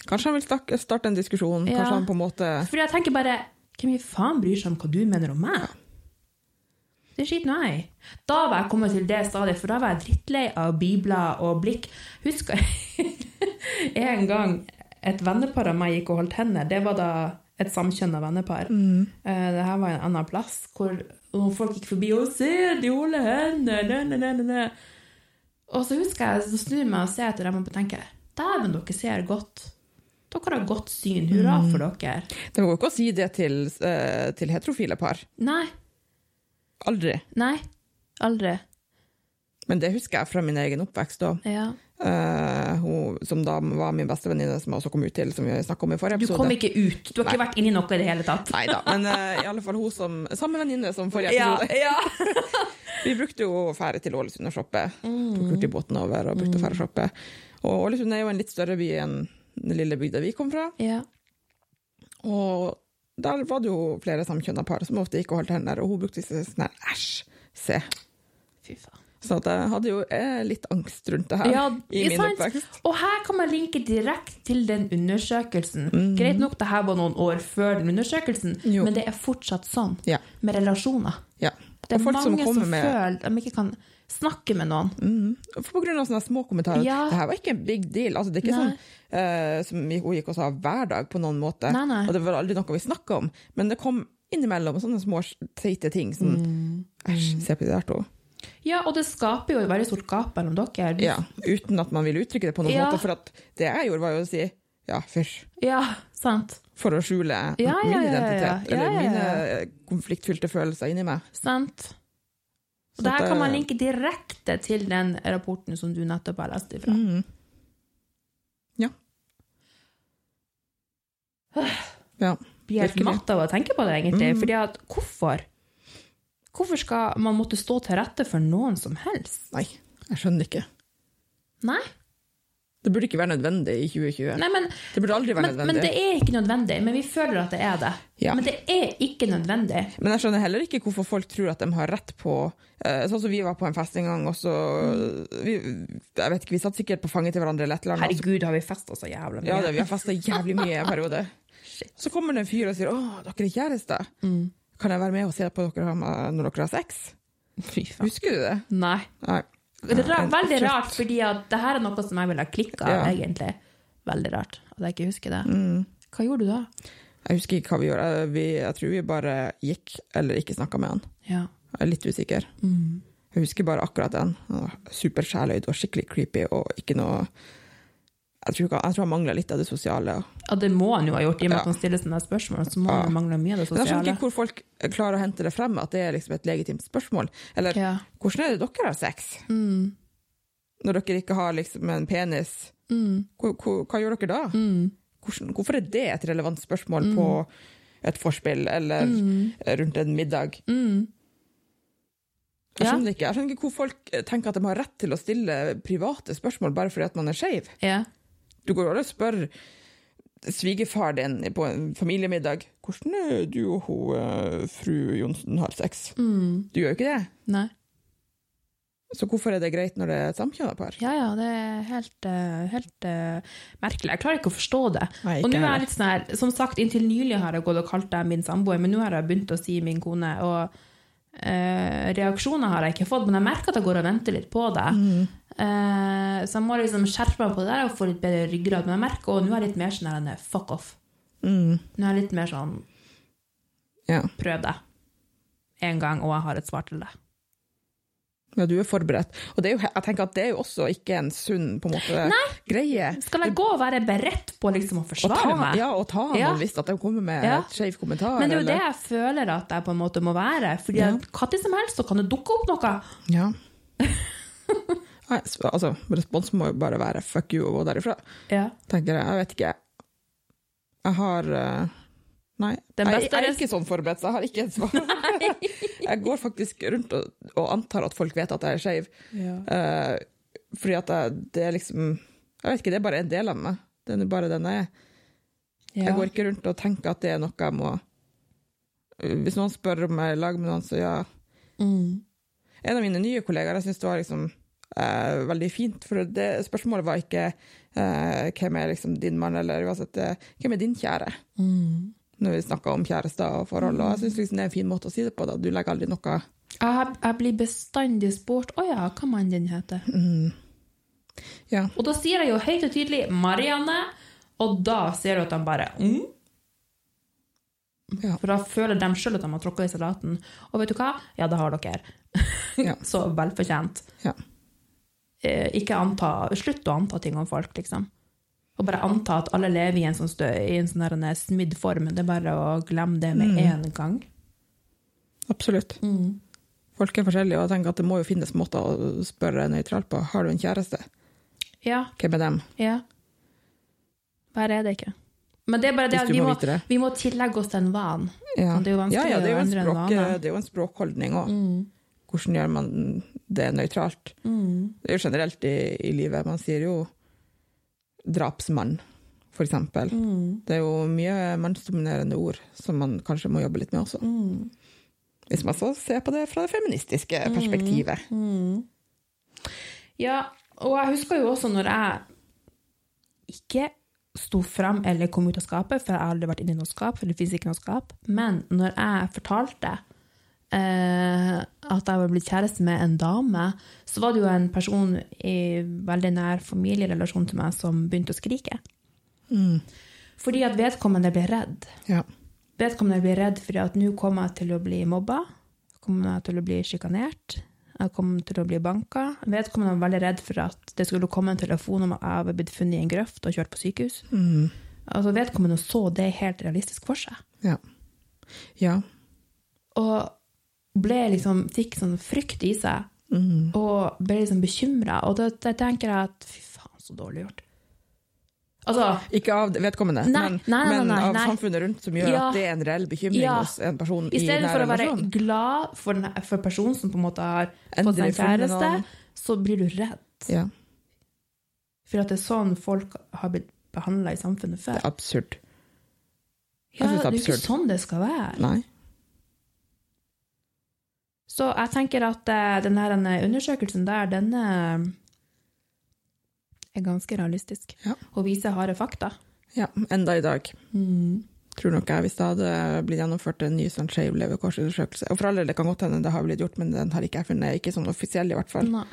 S2: Kanskje han vil stak- starte en diskusjon.
S1: Ja.
S2: Kanskje han på en måte
S1: Fordi jeg tenker bare, hvem i faen bryr seg om hva du mener om meg? Det er skitt nei. Da var jeg kommet til det stadiet, for da var jeg drittlei av bibler og blikk. Husker jeg en gang et vennepar av meg gikk og holdt hender. Det var da et samkjønna vennepar. Eh, Det her var en annen plass, hvor noen folk gikk forbi og se, de holder hender, ne, ne, ne, ne, ne. Og så husker jeg, så snur jeg meg og ser etter dem og tenker, dæven, dere ser godt. Dere har godt syn, hurra for dere.
S2: Det går jo ikke å si det til, eh, til heterofile par.
S1: Nei,
S2: Aldri.
S1: nei, aldri.
S2: Men det husker jeg fra min egen oppvekst. Da.
S1: Ja.
S2: Eh, hun som da var min bestevenninne, som jeg også kom ut til, som vi snakket om i forrige
S1: Du
S2: episode.
S1: kom ikke ut. Du har ikke vært inni noe i det hele tatt.
S2: Nei da, men eh, i alle fall hun som Samme venninne som forrige
S1: Ja,
S2: episode.
S1: ja.
S2: Vi brukte jo å fære til Ålesund og shoppe. Tok
S1: Mm.
S2: hurtigbåten over og brukte å fære og shoppe. Og Ålesund er jo en litt større by enn den lille bygda vi kom fra.
S1: ja.
S2: Og der var det jo flere samkjønna par som ofte gikk og holdt hender, og hun brukte sånn her æsj, se.
S1: Fy faen.
S2: Så at jeg hadde jo eh, litt angst rundt det her
S1: Ja,
S2: i min
S1: sant?
S2: oppvekst.
S1: Og her kan man linke direkte til den undersøkelsen. Greit nok, det her var noen år før den undersøkelsen,
S2: Mm. Jo.
S1: men det er fortsatt sånn
S2: Ja.
S1: med relasjoner.
S2: Ja.
S1: Det er
S2: og folk som
S1: mange som,
S2: kommer med
S1: føler at de ikke kan snakke med noen.
S2: Mhm. På grunn av sånne små kommentarer.
S1: Ja.
S2: Det her var ikke en big deal. Altså, det er ikke
S1: Nei.
S2: sånn eh, som vi- hun gikk og sa hver dag på noen måte.
S1: Nei, nei.
S2: Og det var aldri noe vi snakka om. Men det kom innimellom sånne små teite ting som
S1: Mm.
S2: Æsj, se på det der to.
S1: Ja, og det skaper jo et veldig stort gap mellom dere.
S2: Ja. Uten at man vil uttrykke det på noen
S1: Ja.
S2: måte. For at det jeg gjorde, var jo å si ja, fysj.
S1: Ja, sant.
S2: For å skjule
S1: Ja, ja,
S2: min
S1: ja, ja, ja.
S2: identitet,
S1: Ja, ja,
S2: eller
S1: ja.
S2: mine eh, konfliktfylte følelser inni meg.
S1: Sant.
S2: Så eh,
S1: Og det her
S2: det-
S1: kan man linke direkte til den rapporten som du nettopp har lest ifra.
S2: Mhm. Ja. Ja.
S1: blir helt
S2: Virkelig.
S1: matt av å tenke på det, egentlig.
S2: Mm.
S1: Fordi at hvorfor? Hvorfor skal man måtte stå til rette for noen som helst?
S2: Nei, jeg skjønner ikke.
S1: Nei,
S2: Det burde ikke være nødvendig i 2020.
S1: Nei men,
S2: Det burde aldri være
S1: men, men
S2: nødvendig.
S1: det er ikke nødvendig. Men vi føler at det er det.
S2: Ja.
S1: Men det er ikke nødvendig.
S2: Men jeg skjønner heller ikke hvorfor folk tror at de har rett på eh, Sånn som vi var på en fest en gang, og så vi, Jeg vet ikke, vi satt sikkert på fanget til hverandre eller et eller annet. og så-
S1: Mm. Herregud, har vi festa så jævla mye?
S2: Ja, det, vi har festa jævlig mye i en periode.
S1: Shit. Mm.
S2: Så kommer det en fyr og sier 'Å, dere er kjærester'. Kan jeg være med og se på dere har- når dere har sex?
S1: Fy faen.
S2: Husker du det?
S1: Nei.
S2: Nei.
S1: Det er ra
S2: En-
S1: veldig rart, fordi at det her er noe som jeg ville ha klikka av,
S2: Ja. Mm.
S1: egentlig. Veldig rart at jeg ikke husker det. Hva gjorde du da?
S2: Jeg husker ikke hva vi gjorde. Jeg- Vi, jeg tror vi bare gikk, eller ikke snakka med han.
S1: Ja. mm.
S2: Jeg er litt usikker. Jeg husker bare akkurat den. Han var Super sjæløyd og skikkelig creepy og ikke noe Jeg tror, ikke, jeg tror han mangla litt av det sosiale.
S1: Ja, det må han jo ha gjort, i og med
S2: Ja.
S1: at han stiller sånne her spørsmål. Så må
S2: Ja.
S1: han jo mangle mye
S2: Men
S1: av det
S2: jeg skjønner
S1: sosiale.
S2: ikke hvor folk klarer å hente det frem, at det er liksom et legitimt spørsmål. Eller
S1: Ja.
S2: hvordan er det dere har sex?
S1: Mm.
S2: Når dere ikke har liksom en penis,
S1: Mm.
S2: hva, hva, hva gjør dere da?
S1: Mm.
S2: Hvordan, hvorfor er det et relevant spørsmål på et forspill eller
S1: Mm.
S2: rundt en middag?
S1: Mm.
S2: Jeg
S1: Ja.
S2: skjønner, ikke. jeg skjønner ikke hvor folk eh, tenker at de har rett til å stille private spørsmål bare fordi at man er skeiv.
S1: Ja.
S2: Du går jo aldri og spør svigerfar din på en familiemiddag hvordan er du og hun, eh, fru Johnsen har sex.
S1: Mm.
S2: Du gjør jo ikke det.
S1: Nei.
S2: Så hvorfor er det greit når det er et samkjønna par?
S1: Ja, ja, det er helt, eh, helt eh, merkelig. Jeg klarer ikke å forstå det.
S2: Nei,
S1: og
S2: ikke
S1: nå er jeg
S2: heller.
S1: litt sånn her, som sagt, Inntil nylig har jeg gått og kalt deg min samboer, men nå har jeg begynt å si min kone. og eh, Reaksjoner har jeg ikke fått, men jeg merker at jeg går og venter litt på det.
S2: Mm,
S1: Eh, så jeg må liksom skjerpe meg på det der og få litt bedre ryggrad. Men jeg merker også, nå er jeg litt mer sånn her, nei, fuck off.
S2: Mm.
S1: Nå er jeg litt mer sånn
S2: Ja.
S1: prøv det en gang, og jeg har et svar til det.
S2: ja, du er forberedt. Og det er jo, jeg tenker at det er jo også ikke en sunn på en måte, greie.
S1: Skal jeg gå og være beredt på liksom å
S2: Å ta,
S1: forsvare meg?
S2: ja, å ta han
S1: Ja.
S2: hvis at de kommer med
S1: Ja.
S2: et skjev kommentar.
S1: Men det er jo det
S2: eller-
S1: jeg føler at jeg på en måte må være. Fordi
S2: Ja.
S1: at hva til som helst så kan det dukke opp noe.
S2: Ja. Nei, s- altså, responsen må jo bare være 'fuck you' og gå derifra,
S1: Ja.
S2: tenker jeg. Jeg vet ikke. Jeg har eh, Nei,
S1: Den
S2: jeg,
S1: beste
S2: jeg er
S1: res-
S2: ikke sånn forberedt, så jeg har ikke et svar. jeg går faktisk rundt og, og antar at folk vet at jeg er skeiv, eh, fordi at jeg, det er liksom Jeg vet ikke, det er bare en del av meg. Det er bare den jeg er. Jeg går ikke rundt og tenker at det er noe jeg må Hvis noen spør om jeg er i lag med noen, så ja.
S1: Mm.
S2: En av mine nye kollegaer, jeg synes det var liksom eh, veldig fint, for det spørsmålet var ikke eh, hvem er liksom din mann, eller uansett, eh, hvem er din kjære?
S1: Mm.
S2: Når vi snakker om kjærester og forhold, og jeg synes liksom det er en fin måte å si det på, da. Du legger aldri noe
S1: Jeg, jeg blir bestandig spurt Å ja, hva mannen din heter?
S2: mm. Ja.
S1: Og da sier jeg jo høyt og tydelig 'Marianne', og da ser du at de bare mm.
S2: Ja.
S1: For da føler de sjøl at de har tråkka i salaten. Og vet du hva? Ja, det har dere.
S2: Ja.
S1: Så velfortjent.
S2: Ja.
S1: Eh, ikke anta, slutt å anta ting om folk, liksom. Og bare anta at alle lever i en sånn, stø, i en sånn her, en smidd form. Det er bare å glemme det
S2: Mm.
S1: med en gang.
S2: Absolutt. Folk er forskjellige, og jeg tenker at det må jo finnes måter å spørre nøytralt på. Har du en kjæreste?
S1: Ja,
S2: Hvem er dem?
S1: ja. Bare er det ikke. Men det er bare det
S2: Hvis
S1: at
S2: du
S1: vi
S2: må
S1: må,
S2: vite det.
S1: vi må tillegge oss den vanen.
S2: Ja.
S1: Og det er jo
S2: ja,
S1: vanskelig
S2: ja, det er jo
S1: å
S2: en
S1: endre en
S2: språk,
S1: vane.
S2: Det er jo en språkholdning òg. Hvordan gjør man det nøytralt?
S1: Mm.
S2: Det er jo generelt i, i livet. Man sier jo drapsmann, for eksempel.
S1: Mm.
S2: Det er jo mye mannsdominerende ord som man kanskje må jobbe litt med også.
S1: Mm.
S2: Hvis man så ser på det fra det feministiske perspektivet.
S1: Ja, og jeg husker jo også når jeg ikke sto fram eller kom ut av skapet, for jeg har aldri vært inne i noe skap, for det fins ikke noe skap, men når jeg fortalte eh, at jeg var blitt kjæreste med en dame, så var det jo en person i veldig nær familierelasjon til meg som begynte å skrike. Mm. Fordi at vedkommende ble redd.
S2: Ja.
S1: Vedkommende blir redd fordi at nå kommer jeg til å bli mobba, kommer jeg til å bli sjikanert, jeg kommer til å bli banka. Vedkommende var veldig redd for at det skulle komme en telefon om at jeg var blitt funnet i en grøft og kjørt på sykehus.
S2: Mm.
S1: Altså Vedkommende så det helt realistisk for seg,
S2: ja. Ja.
S1: og ble liksom, fikk sånn frykt i seg,
S2: Mm.
S1: og ble liksom bekymra. Og da da tenker jeg at fy faen, så dårlig gjort. Altså,
S2: Ikke av vedkommende,
S1: Nei,
S2: men,
S1: nei, nei, nei,
S2: men av
S1: nei.
S2: samfunnet rundt, som gjør
S1: Ja.
S2: at det er en reell bekymring
S1: Ja.
S2: hos en person
S1: I
S2: i nær
S1: stedet for å være
S2: relasjon.
S1: glad for, den, for personen som på en måte har
S2: Endelig
S1: fått seg en
S2: funnet
S1: kjæreste,
S2: noen.
S1: så blir du redd.
S2: Ja,
S1: For at det er sånn folk har blitt behandla i samfunnet
S2: det
S1: før.
S2: er absurd. synes
S1: Ja, det er jo ikke
S2: absurd.
S1: sånn det skal være.
S2: Nei.
S1: Så jeg tenker at eh, den her eh, undersøkelsen der, den eh, er ganske realistisk.
S2: Ja.
S1: Og viser harde fakta.
S2: Ja, enda i dag. Mm. tror nok jeg, hvis det hadde blitt gjennomført en ny sånn skeiv levekårsundersøkelse Og for alle, det kan godt hende det har blitt gjort, men den har ikke jeg funnet. Ikke sånn offisiell, i hvert fall.
S1: Nei.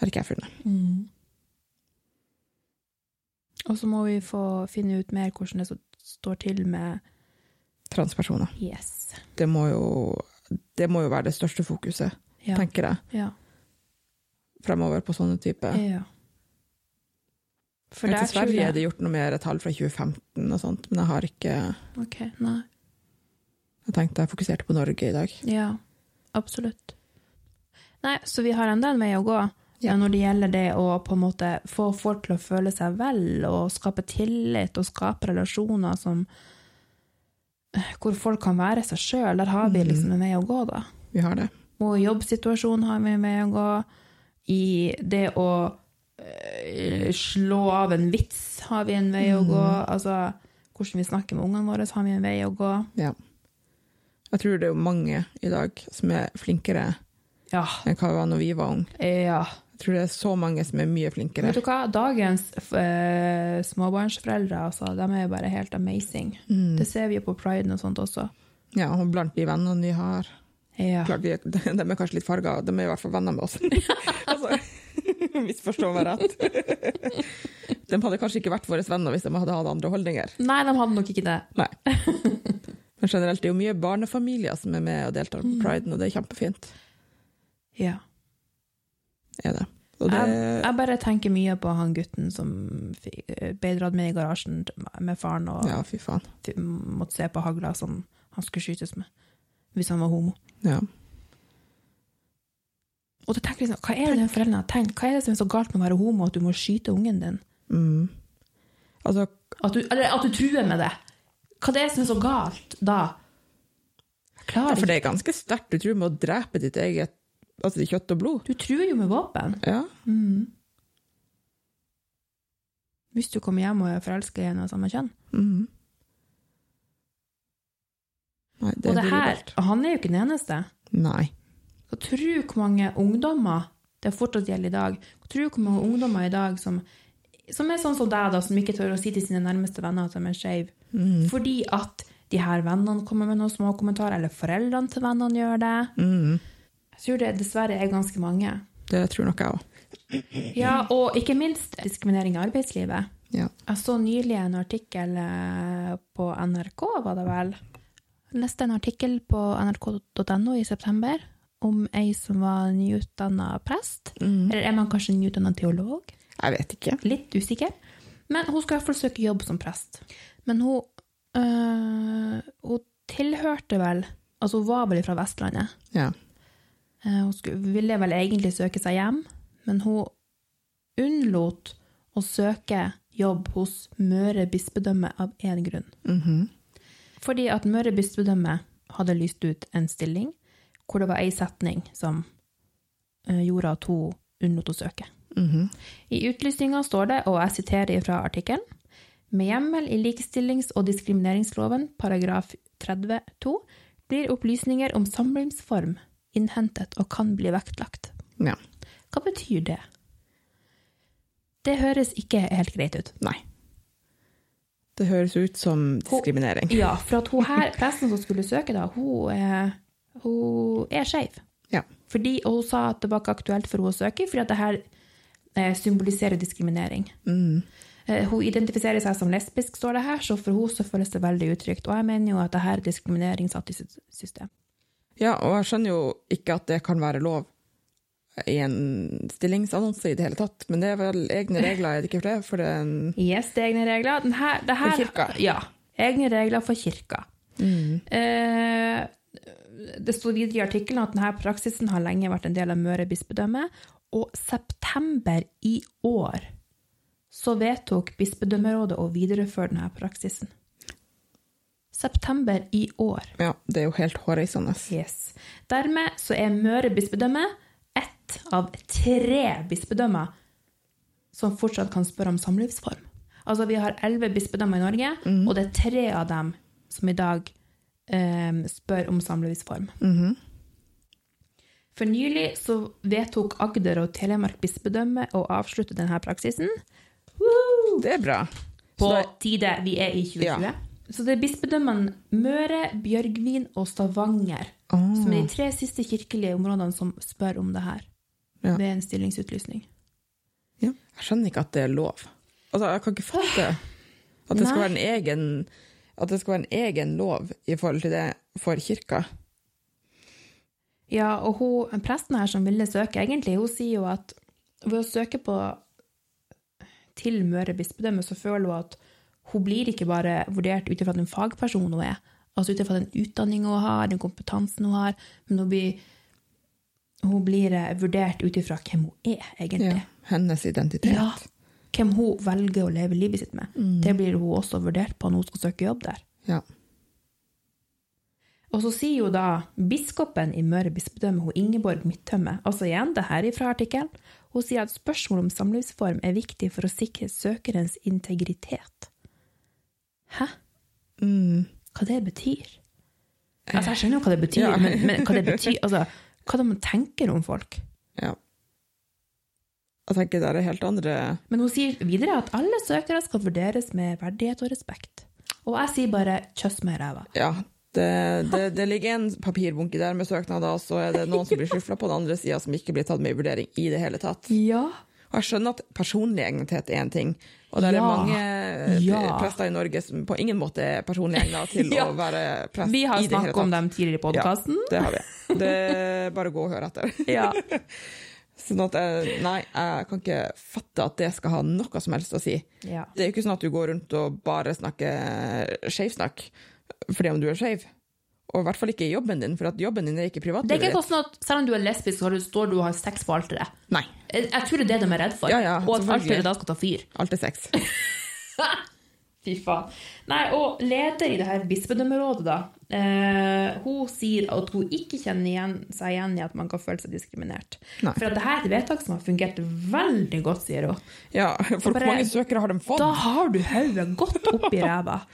S2: Har ikke jeg funnet.
S1: Og så må vi få finne ut mer hvordan det så- står til med
S2: Transpersoner.
S1: Yes.
S2: Det må jo, det må jo være det største fokuset,
S1: Ja.
S2: tenker jeg,
S1: Ja.
S2: fremover på sånne type
S1: ja. Eh, For
S2: Til
S1: der tror
S2: Sverige
S1: jeg-
S2: er det gjort noe mer tall fra 2015 og sånt, men jeg har ikke
S1: Ok, nei.
S2: Jeg tenkte jeg fokuserte på Norge i dag.
S1: Ja, absolutt. Nei, så vi har enda en vei å gå
S2: Ja.
S1: eh, når det gjelder det å på en måte få folk til å føle seg vel, og skape tillit, og skape relasjoner som eh, hvor folk kan være seg sjøl. Der har vi
S2: Mhm.
S1: liksom en vei å gå, da.
S2: Vi har det.
S1: Og i jobbsituasjonen har vi en vei å gå. I det å eh, slå av en vits har vi en vei å gå. Altså, hvordan vi snakker med ungene våre, har vi en vei å gå.
S2: Jeg tror det er jo mange i dag som er flinkere
S1: Ja.
S2: enn hva vi var når vi var unge.
S1: ja.
S2: Jeg tror det er så mange som er mye flinkere.
S1: Vet du hva? Dagens eh, småbarnsforeldre altså, de er jo bare helt amazing.
S2: Mm.
S1: Det ser vi jo på priden og sånt også.
S2: Ja, og blant de vennene vi har
S1: Ja.
S2: Klart vi, de er kanskje litt farga, de er i hvert fall venner med oss. altså, misforstå meg rett. De hadde kanskje ikke vært våre venner hvis de hadde hatt andre holdninger.
S1: Nei, de hadde nok ikke det.
S2: Men generelt, det er jo mye barnefamilier som er med og deltar
S1: Mm.
S2: på priden, og det er kjempefint.
S1: Ja.
S2: Er det. Og det
S1: Jeg bare tenker mye på han gutten som fikk- eh, ble dratt med i garasjen med faren og
S2: Ja, fy faen.
S1: f- måtte se på hagla som han skulle skytes med hvis han var homo.
S2: Ja.
S1: Og da tenker jeg liksom, Hva er det den foreldrene har tenkt? Hva er det som er så galt med å være homo at du må skyte ungen din?
S2: Mm. Altså,
S1: At du, eller at du truer med det? Hva er det som er så galt da? Jeg
S2: ja,
S1: klarer
S2: for
S1: ikke.
S2: det er ganske sterkt. Du tror med å drepe ditt eget altså, ditt kjøtt og blod.
S1: Du truer jo med våpen.
S2: Ja. Mm.
S1: Hvis du kommer hjem og er forelska i en av samme kjønn.
S2: Mm. Nei, det,
S1: og det
S2: blir
S1: her,
S2: galt.
S1: han er jo ikke den eneste.
S2: Nei.
S1: Og tro hvor mange ungdommer det fortsatt gjelder i dag. Tro hvor mange ungdommer i dag som, som er sånn som deg, da, som ikke tør å si til sine nærmeste venner at de er skeive.
S2: Mm.
S1: Fordi at de her vennene kommer med noen små kommentarer, eller foreldrene til vennene gjør det.
S2: Mm.
S1: Jeg tror det dessverre er ganske mange.
S2: Det tror nok jeg òg.
S1: Ja, og ikke minst diskriminering i arbeidslivet.
S2: Ja.
S1: Jeg så nylig en artikkel eh, på NRK, var det vel? Jeg leste en artikkel på nrk.no i september om ei som var nyutdanna prest. Eller er man kanskje nyutdanna teolog?
S2: Jeg vet ikke.
S1: Litt usikker. Men hun skal i hvert fall søke jobb som prest. Men hun, øh, hun tilhørte vel Altså, hun var vel fra Vestlandet.
S2: Ja.
S1: Eh, Hun skulle, ville vel egentlig søke seg hjem, men hun unnlot å søke jobb hos Møre bispedømme av én grunn.
S2: Mhm.
S1: Fordi at Møre bispedømme hadde lyst ut en stilling hvor det var ei setning som eh, gjorde at hun unnlot å søke.
S2: Mhm.
S1: I utlysninga står det, og jeg siterer fra artikkelen, med hjemmel i likestillings- og diskrimineringsloven paragraf 30-2 blir opplysninger om samlivsform innhentet og kan bli vektlagt.
S2: Ja.
S1: Hva betyr det? Det høres ikke helt greit ut.
S2: Nei. Det høres ut som diskriminering.
S1: Ja, for at hun her, presten som skulle søke, da, hun er, hun er skeiv.
S2: Ja.
S1: Fordi og hun sa at det var ikke aktuelt for henne å søke, fordi at det her eh, symboliserer diskriminering.
S2: Mm.
S1: Eh, Hun identifiserer seg som lesbisk, står det her, så for henne så føles det veldig utrygt. Og jeg mener jo at det her er diskriminering satt i sitt system.
S2: Ja, og jeg skjønner jo ikke at det kan være lov i en stillingsannonse i det hele tatt, men det er vel egne regler, er det ikke for det? For det er en
S1: Yes, det er egne regler. Den her, det her,
S2: For kirka.
S1: Ja. Egne regler for kirka.
S2: Mm.
S1: Eh, det sto videre i artikkelen at denne praksisen har lenge vært en del av Møre bispedømme, og september i år så vedtok bispedømmerådet å videreføre denne praksisen. September i år.
S2: Ja, det er jo helt hårreisende.
S1: Yes. Dermed så er Møre bispedømme ett av tre bispedømmer som fortsatt kan spørre om samlivsform. Altså vi har elleve bispedømmer i Norge,
S2: Mm.
S1: og det er tre av dem som i dag eh, spør om samlivsform.
S2: Mm-hmm.
S1: For nylig så vedtok Agder og Telemark bispedømme å avslutte denne praksisen. Woo!
S2: Det er bra.
S1: på
S2: Så det,
S1: tide vi er i 2020.
S2: Ja.
S1: Så det er bispedømmene Møre, Bjørgvin og Stavanger
S2: Ah.
S1: som er de tre siste kirkelige områdene som spør om det her
S2: Ja.
S1: ved en stillingsutlysning.
S2: ja. Jeg skjønner ikke at det er lov. Altså, jeg kan ikke fatte at det skal
S1: Nei.
S2: være en egen, at det skal være en egen lov i forhold til det for kirka.
S1: Ja, og hun, presten her som ville søke, egentlig, hun sier jo at ved å søke på til Møre bispedømme, så føler hun at hun blir ikke bare vurdert ut ifra den fagpersonen hun er, altså ut ifra den utdanninga hun har, den kompetansen hun har, men hun blir, hun blir eh, vurdert ut ifra hvem hun er, egentlig.
S2: Ja, hennes identitet.
S1: Ja. Hvem hun velger å leve livet sitt med.
S2: Mm.
S1: Det blir hun også vurdert på når hun skal søke jobb der.
S2: Ja.
S1: Og så sier jo da biskopen i Møre bispedømme, hun Ingeborg Midttømme, altså igjen, det her ifra artikkelen, hun sier at spørsmål om samlivsform er viktig for å sikre søkerens integritet. Hæ?
S2: Mm.
S1: Hva det betyr? Altså, jeg skjønner jo hva det betyr,
S2: Ja.
S1: men, men hva det betyr, altså, hva de tenker om folk.
S2: ja. Jeg tenker det er helt andre
S1: Men hun sier videre at alle søkere skal vurderes med verdighet og respekt. Og jeg sier bare kjøss meg i ræva.
S2: Ja. Det, det, det ligger en papirbunke der med søknader, og så er det noen som blir skyfla på den andre sida, som ikke blir tatt med i vurdering i det hele tatt.
S1: Ja.
S2: Og jeg skjønner at personlig egnet er en ting, og det er
S1: Ja.
S2: mange eh,
S1: Ja.
S2: prester i Norge som på ingen måte er personlig egnet til
S1: Ja.
S2: å være prest
S1: Vi har
S2: i det hele
S1: snakket
S2: tatt.
S1: om dem tidligere i podkasten.
S2: Ja, det har vi. Det er bare å gå og høre etter.
S1: Ja.
S2: Sånn at jeg, nei, jeg kan ikke fatte at det skal ha noe som helst å si.
S1: Ja.
S2: Det er jo ikke sånn at du går rundt og bare snakker skeivsnakk fordi om du er skeiv. Og i hvert fall ikke i jobben din, for at jobben din er ikke
S1: Det er
S2: privatlivet
S1: ikke noe sånn at selv om du er lesbisk, så har du- står du og har sex på alteret.
S2: Nei.
S1: Jeg jeg tror det er det de er redd for.
S2: Ja, ja,
S1: og at
S2: selvfølgelig.
S1: alteret da skal ta fyr.
S2: Alt er sex.
S1: Fy faen. Nei, og leder i det her bispedømmerådet, da, eh, hun sier at hun ikke kjenner igjen, seg igjen i at man kan føle seg diskriminert.
S2: Nei.
S1: For at det her er et vedtak som har fungert veldig godt, sier hun.
S2: Ja, for
S1: bare-
S2: hvor mange søkere har de fått?
S1: Da har du hodet godt oppi ræva.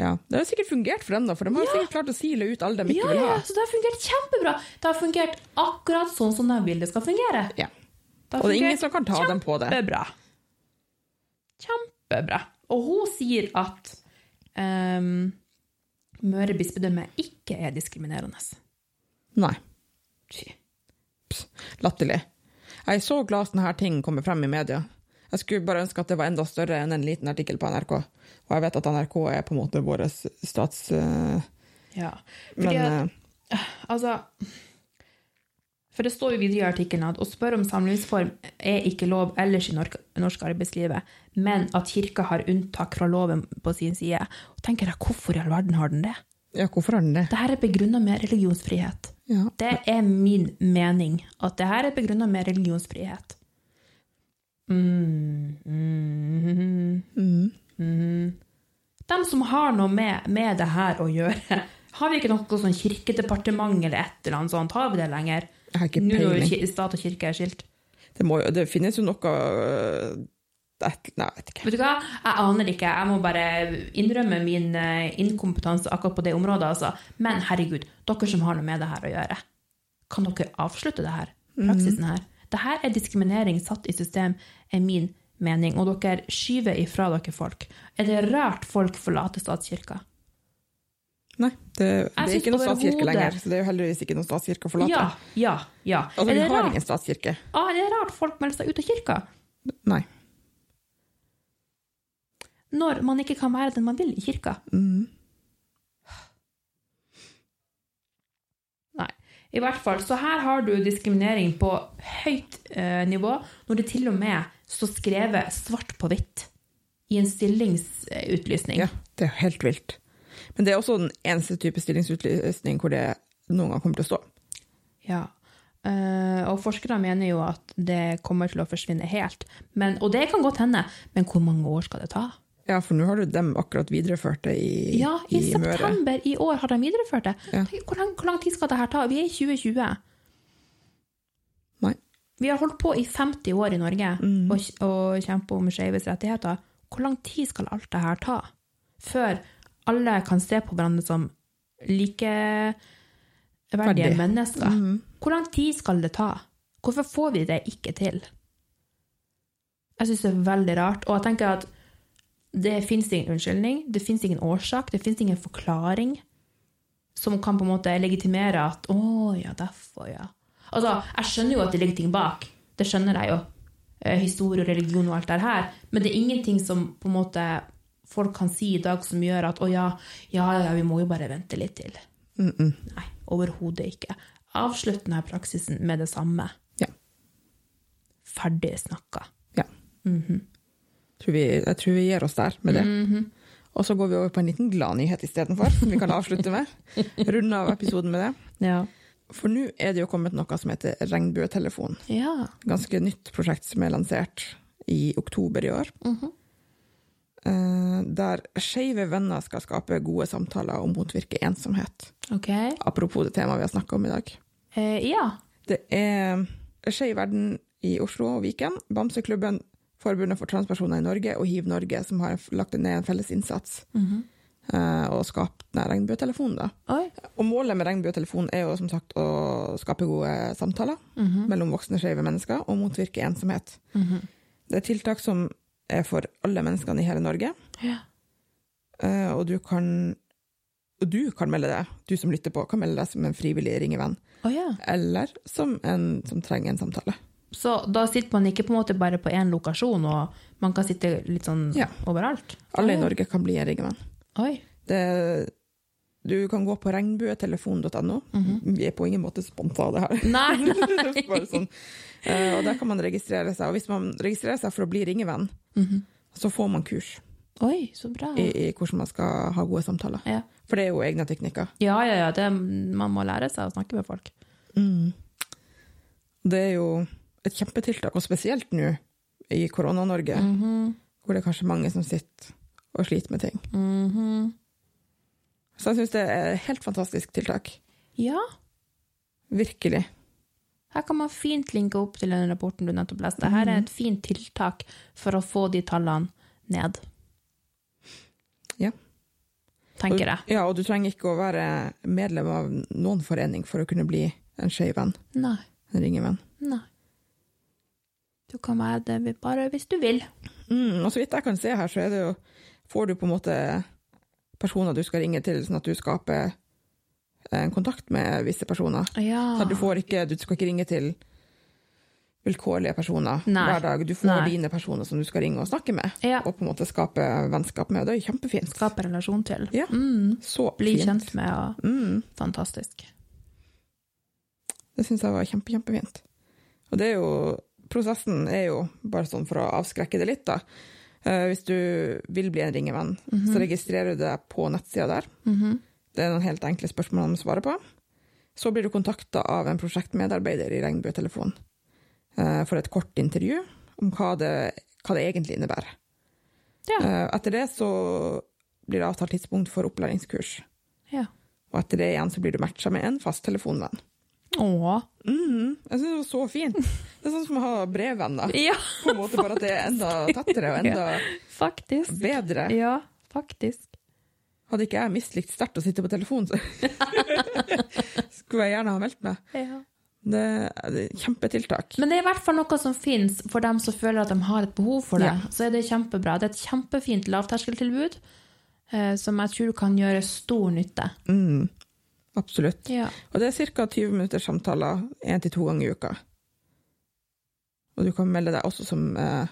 S2: Ja, Det har sikkert fungert for dem, da, for de har
S1: Ja.
S2: sikkert klart å sile ut alle de ikke
S1: Ja,
S2: vil ha.
S1: ja, så det har fungert kjempebra. Det har fungert akkurat sånn som de vil det skal fungere.
S2: Ja.
S1: har
S2: Og det er ingen
S1: fungert
S2: som kan ta dem på det.
S1: Kjempebra. Kjempebra. Og hun sier at ehm, Møre bispedømme ikke er diskriminerende.
S2: Nei.
S1: Fy.
S2: Latterlig. Jeg er så glad sånne her ting kommer frem i media. Jeg skulle bare ønske at det var enda større enn en liten artikkel på NRK. Og jeg vet at NRK er på en måte vår stats... eh,
S1: Ja. Fordi
S2: Men
S1: at,
S2: eh,
S1: altså For det står jo videre i artikkelen at å spørre om samlivsform er ikke lov ellers i norsk, norsk arbeidslivet, men at kirka har unntak fra loven på sin side. Og tenker jeg, hvorfor i all verden har den det?
S2: eh, ja, hvorfor har den det?
S1: Dette er begrunna med religionsfrihet.
S2: Ja.
S1: Det er min mening, at det her er begrunna med religionsfrihet. Mm, mm,
S2: Mm.
S1: mm. De som har noe med, med det her å gjøre, har vi ikke noe sånn kirkedepartement eller et eller annet sånt? Har vi det lenger?
S2: Jeg har ikke
S1: Nå når
S2: peiling.
S1: ki- stat og kirke er skilt.
S2: Det, må, jo- det finnes jo noe eh, et, Nei, jeg vet ikke.
S1: Vet du hva? Jeg aner ikke. Jeg må bare innrømme min eh, inkompetanse akkurat på det området. Altså. Men herregud, dere som har noe med det her å gjøre, kan dere avslutte det her?
S2: Mhm.
S1: Praksisen her? Det her er diskriminering satt i system, er min mening. Og dere skyver ifra dere folk. Er det rart folk forlater statskirka?
S2: Nei, det, det er
S1: synes
S2: ikke noe statskirke
S1: overhodet-
S2: lenger, så det er jo heldigvis ikke noen statskirke å forlate.
S1: Ja, ja, ja.
S2: Altså,
S1: er,
S2: vi
S1: det
S2: har
S1: rart?
S2: ingen statskirke.
S1: Ah, er det rart folk melder seg ut av kirka?
S2: Nei.
S1: Når man ikke kan være den man vil i kirka?
S2: Mm.
S1: Nei. I hvert fall, så her har du diskriminering på høyt eh, nivå, når det til og med står skrevet svart på hvitt i en stillingsutlysning.
S2: Ja, det er jo helt vilt. Men det er også den eneste type stillingsutlysning hvor det noen gang kommer til å stå.
S1: Ja. Eh, og forskere mener jo at det kommer til å forsvinne helt. Men, og det kan godt hende, men hvor mange år skal det ta?
S2: Ja, for nå har du dem akkurat videreført det i,
S1: Ja, i,
S2: i Møre.
S1: september i år har de videreført det.
S2: Ja.
S1: Tenk, Hvor, lang, hvor lang tid skal det her ta? Vi er i 2020.
S2: Nei.
S1: Vi har holdt på i 50 år i Norge
S2: Mm.
S1: og, og kjempe om skeives rettigheter. Hvor lang tid skal alt det her ta før alle kan se på hverandre som likeverdige
S2: Verdig. Mm.
S1: mennesker? Hvor lang tid skal det ta? Hvorfor får vi det ikke til? Jeg syns det er veldig rart, og jeg tenker at det fins ingen unnskyldning, det fins ingen årsak, det fins ingen forklaring som kan på en måte legitimere at å ja, derfor, ja. Altså, jeg skjønner jo at det ligger ting bak. Det skjønner jeg jo. Eh, Historie og religion og alt det her. Men det er ingenting som på en måte folk kan si i dag som gjør at å ja, ja, ja, vi må jo bare vente litt til.
S2: Mm -mm.
S1: Nei, overhodet ikke. Avslutt denne praksisen med det samme.
S2: Ja.
S1: Ferdig snakka.
S2: Ja. Tror vi, jeg tror vi gir oss der med det.
S1: Mhm.
S2: Og så går vi over på en liten gladnyhet istedenfor, som vi kan avslutte med. Runde av episoden med det.
S1: Ja.
S2: For nå er det jo kommet noe som heter regnbuetelefon.
S1: ja.
S2: Ganske nytt prosjekt som er lansert i oktober i år.
S1: Mhm.
S2: eh, Der skeive venner skal skape gode samtaler og motvirke ensomhet.
S1: Ok.
S2: Apropos det temaet vi har snakka om i dag.
S1: Eh, ja.
S2: Det er Skeiv verden i Oslo og Viken, Bamseklubben, Forbundet for transpersoner i Norge og Hiv Norge, som har lagt ned en felles innsats
S1: Mhm.
S2: eh, og skapt den regnbuetelefonen. da.
S1: Oi.
S2: Og målet med regnbuetelefonen er jo som sagt å skape gode samtaler
S1: Mhm.
S2: mellom voksne skeive mennesker og motvirke ensomhet.
S1: Mhm.
S2: Det er tiltak som er for alle menneskene i hele Norge,
S1: Ja.
S2: eh, og du kan og du kan melde deg, du som lytter på, kan melde deg som en frivillig ringevenn,
S1: Å ja.
S2: eller som en som trenger en samtale.
S1: Så da sitter man ikke på en måte bare på én lokasjon, og man kan sitte litt sånn
S2: Ja.
S1: overalt?
S2: Alle i
S1: Å ja.
S2: Norge kan bli en ringevenn.
S1: Oi.
S2: Det, du kan gå på regnbuetelefon.no. Vi er på ingen måte sponsa av det her.
S1: Mhm. Nei.
S2: Bare sånn. Eh, og der kan man registrere seg. Og hvis man registrerer seg for å bli ringevenn,
S1: Mhm.
S2: så får man kurs
S1: Oi, så bra.
S2: i, i hvordan man skal ha gode samtaler.
S1: Ja.
S2: For det er jo egne teknikker.
S1: Ja, ja, ja. Det, man må lære seg å snakke med folk.
S2: Det er jo et kjempetiltak, og spesielt nå i Korona-Norge,
S1: Mhm.
S2: hvor det er kanskje mange som sitter og sliter med ting.
S1: Mhm.
S2: Så jeg syns det er et helt fantastisk tiltak.
S1: Ja.
S2: Virkelig.
S1: Her kan man fint linke opp til den rapporten du nettopp leste. Her er et fint tiltak for å få de tallene ned.
S2: Ja.
S1: Tenker jeg.
S2: Ja, og du trenger ikke å være medlem av noen forening for å kunne bli en skeiv venn,
S1: Nei.
S2: en ringevenn.
S1: Nei. Du kan være det vi- bare hvis du vil.
S2: Mm, og så vidt jeg kan se her, så er det jo Får du på en måte personer du skal ringe til, sånn at du skaper en kontakt med visse personer?
S1: Ja.
S2: Så du, får ikke, du skal ikke ringe til vilkårlige personer
S1: Nei.
S2: hver dag. Du får
S1: Nei.
S2: dine personer som du skal ringe og snakke med,
S1: ja.
S2: og på en måte skape vennskap med. Det er jo kjempefint.
S1: Skape relasjon til.
S2: Ja.
S1: Mm.
S2: Så
S1: Bli
S2: fint.
S1: kjent med, og
S2: Mm.
S1: fantastisk.
S2: Det syns jeg var kjempe, kjempefint. Og det er jo Prosessen er jo bare sånn for å avskrekke det litt, da. Eh, Hvis du vil bli en ringevenn, så registrerer du deg på nettsida der.
S1: Mhm.
S2: Det er noen helt enkle spørsmål han må svare på. Så blir du kontakta av en prosjektmedarbeider i Regnbuetelefonen eh, for et kort intervju om hva det, hva det egentlig innebærer.
S1: Ja.
S2: Eh, Etter det så blir det avtalt tidspunkt for opplæringskurs.
S1: ja.
S2: Og etter det igjen så blir du matcha med en fast telefonvenn.
S1: Åh.
S2: Mhm, jeg syns det var så fint. Det er sånn som å ha brevvenner.
S1: Ja,
S2: På en måte bare at det er enda tettere og enda
S1: faktisk.
S2: bedre.
S1: Ja, faktisk.
S2: Hadde ikke jeg mislikt sterkt å sitte på telefon, så skulle jeg gjerne ha meldt meg.
S1: Ja.
S2: Det er et kjempetiltak.
S1: Men det er i hvert fall noe som finnes for dem som føler at de har et behov for det.
S2: Ja.
S1: Så er det kjempebra. Det er et kjempefint lavterskeltilbud eh, som jeg tror kan gjøre stor nytte.
S2: Mm, absolutt.
S1: Ja.
S2: Og det er ca. 20 minutters samtaler én til to ganger i uka. Og du kan melde deg også som eh,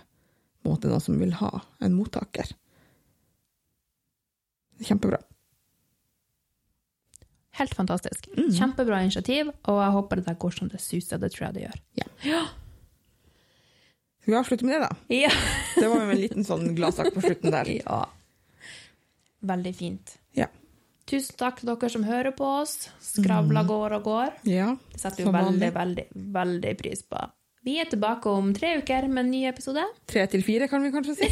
S2: på en måte noen som vil ha en mottaker. Kjempebra.
S1: Helt fantastisk.
S2: Mm.
S1: Kjempebra initiativ, og jeg håper det der går som det suser. Det tror jeg det gjør.
S2: Skal vi avslutte med det, da?
S1: Ja.
S2: Det var jo en liten sånn gladsak på slutten der.
S1: ja. Veldig fint.
S2: Ja.
S1: Tusen takk til dere som hører på oss. Skravla går og går.
S2: Ja.
S1: Det setter vi
S2: Mm. Som
S1: veldig,
S2: vanlig.
S1: veldig, veldig pris på. Vi er tilbake om tre uker med en ny episode.
S2: Tre til fire, kan vi kanskje si.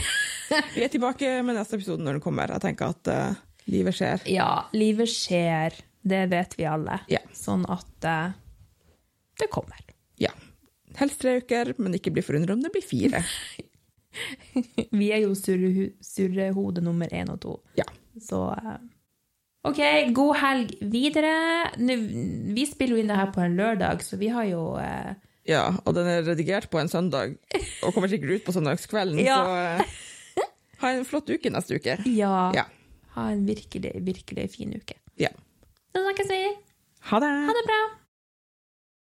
S2: Vi er tilbake med neste episode når den kommer. Jeg tenker at eh, livet skjer.
S1: Ja, livet skjer. Det vet vi alle.
S2: Ja.
S1: Sånn at eh, det kommer.
S2: Ja. Helst tre uker, men ikke bli forundra om det blir fire.
S1: Vi er jo surrehu- surrehode nummer én og to.
S2: Ja.
S1: Så eh, OK, god helg videre. Nå, vi spiller jo inn det her på en lørdag, så vi har jo eh,
S2: Ja, og den er redigert på en søndag, og kommer sikkert ut på søndagskvelden,
S1: Ja.
S2: så eh, ha en flott uke neste uke.
S1: ja,
S2: Ja.
S1: ha en virkelig, virkelig fin uke.
S2: Ja.
S1: Da snakkes vi.
S2: Ha det!
S1: Ha det bra.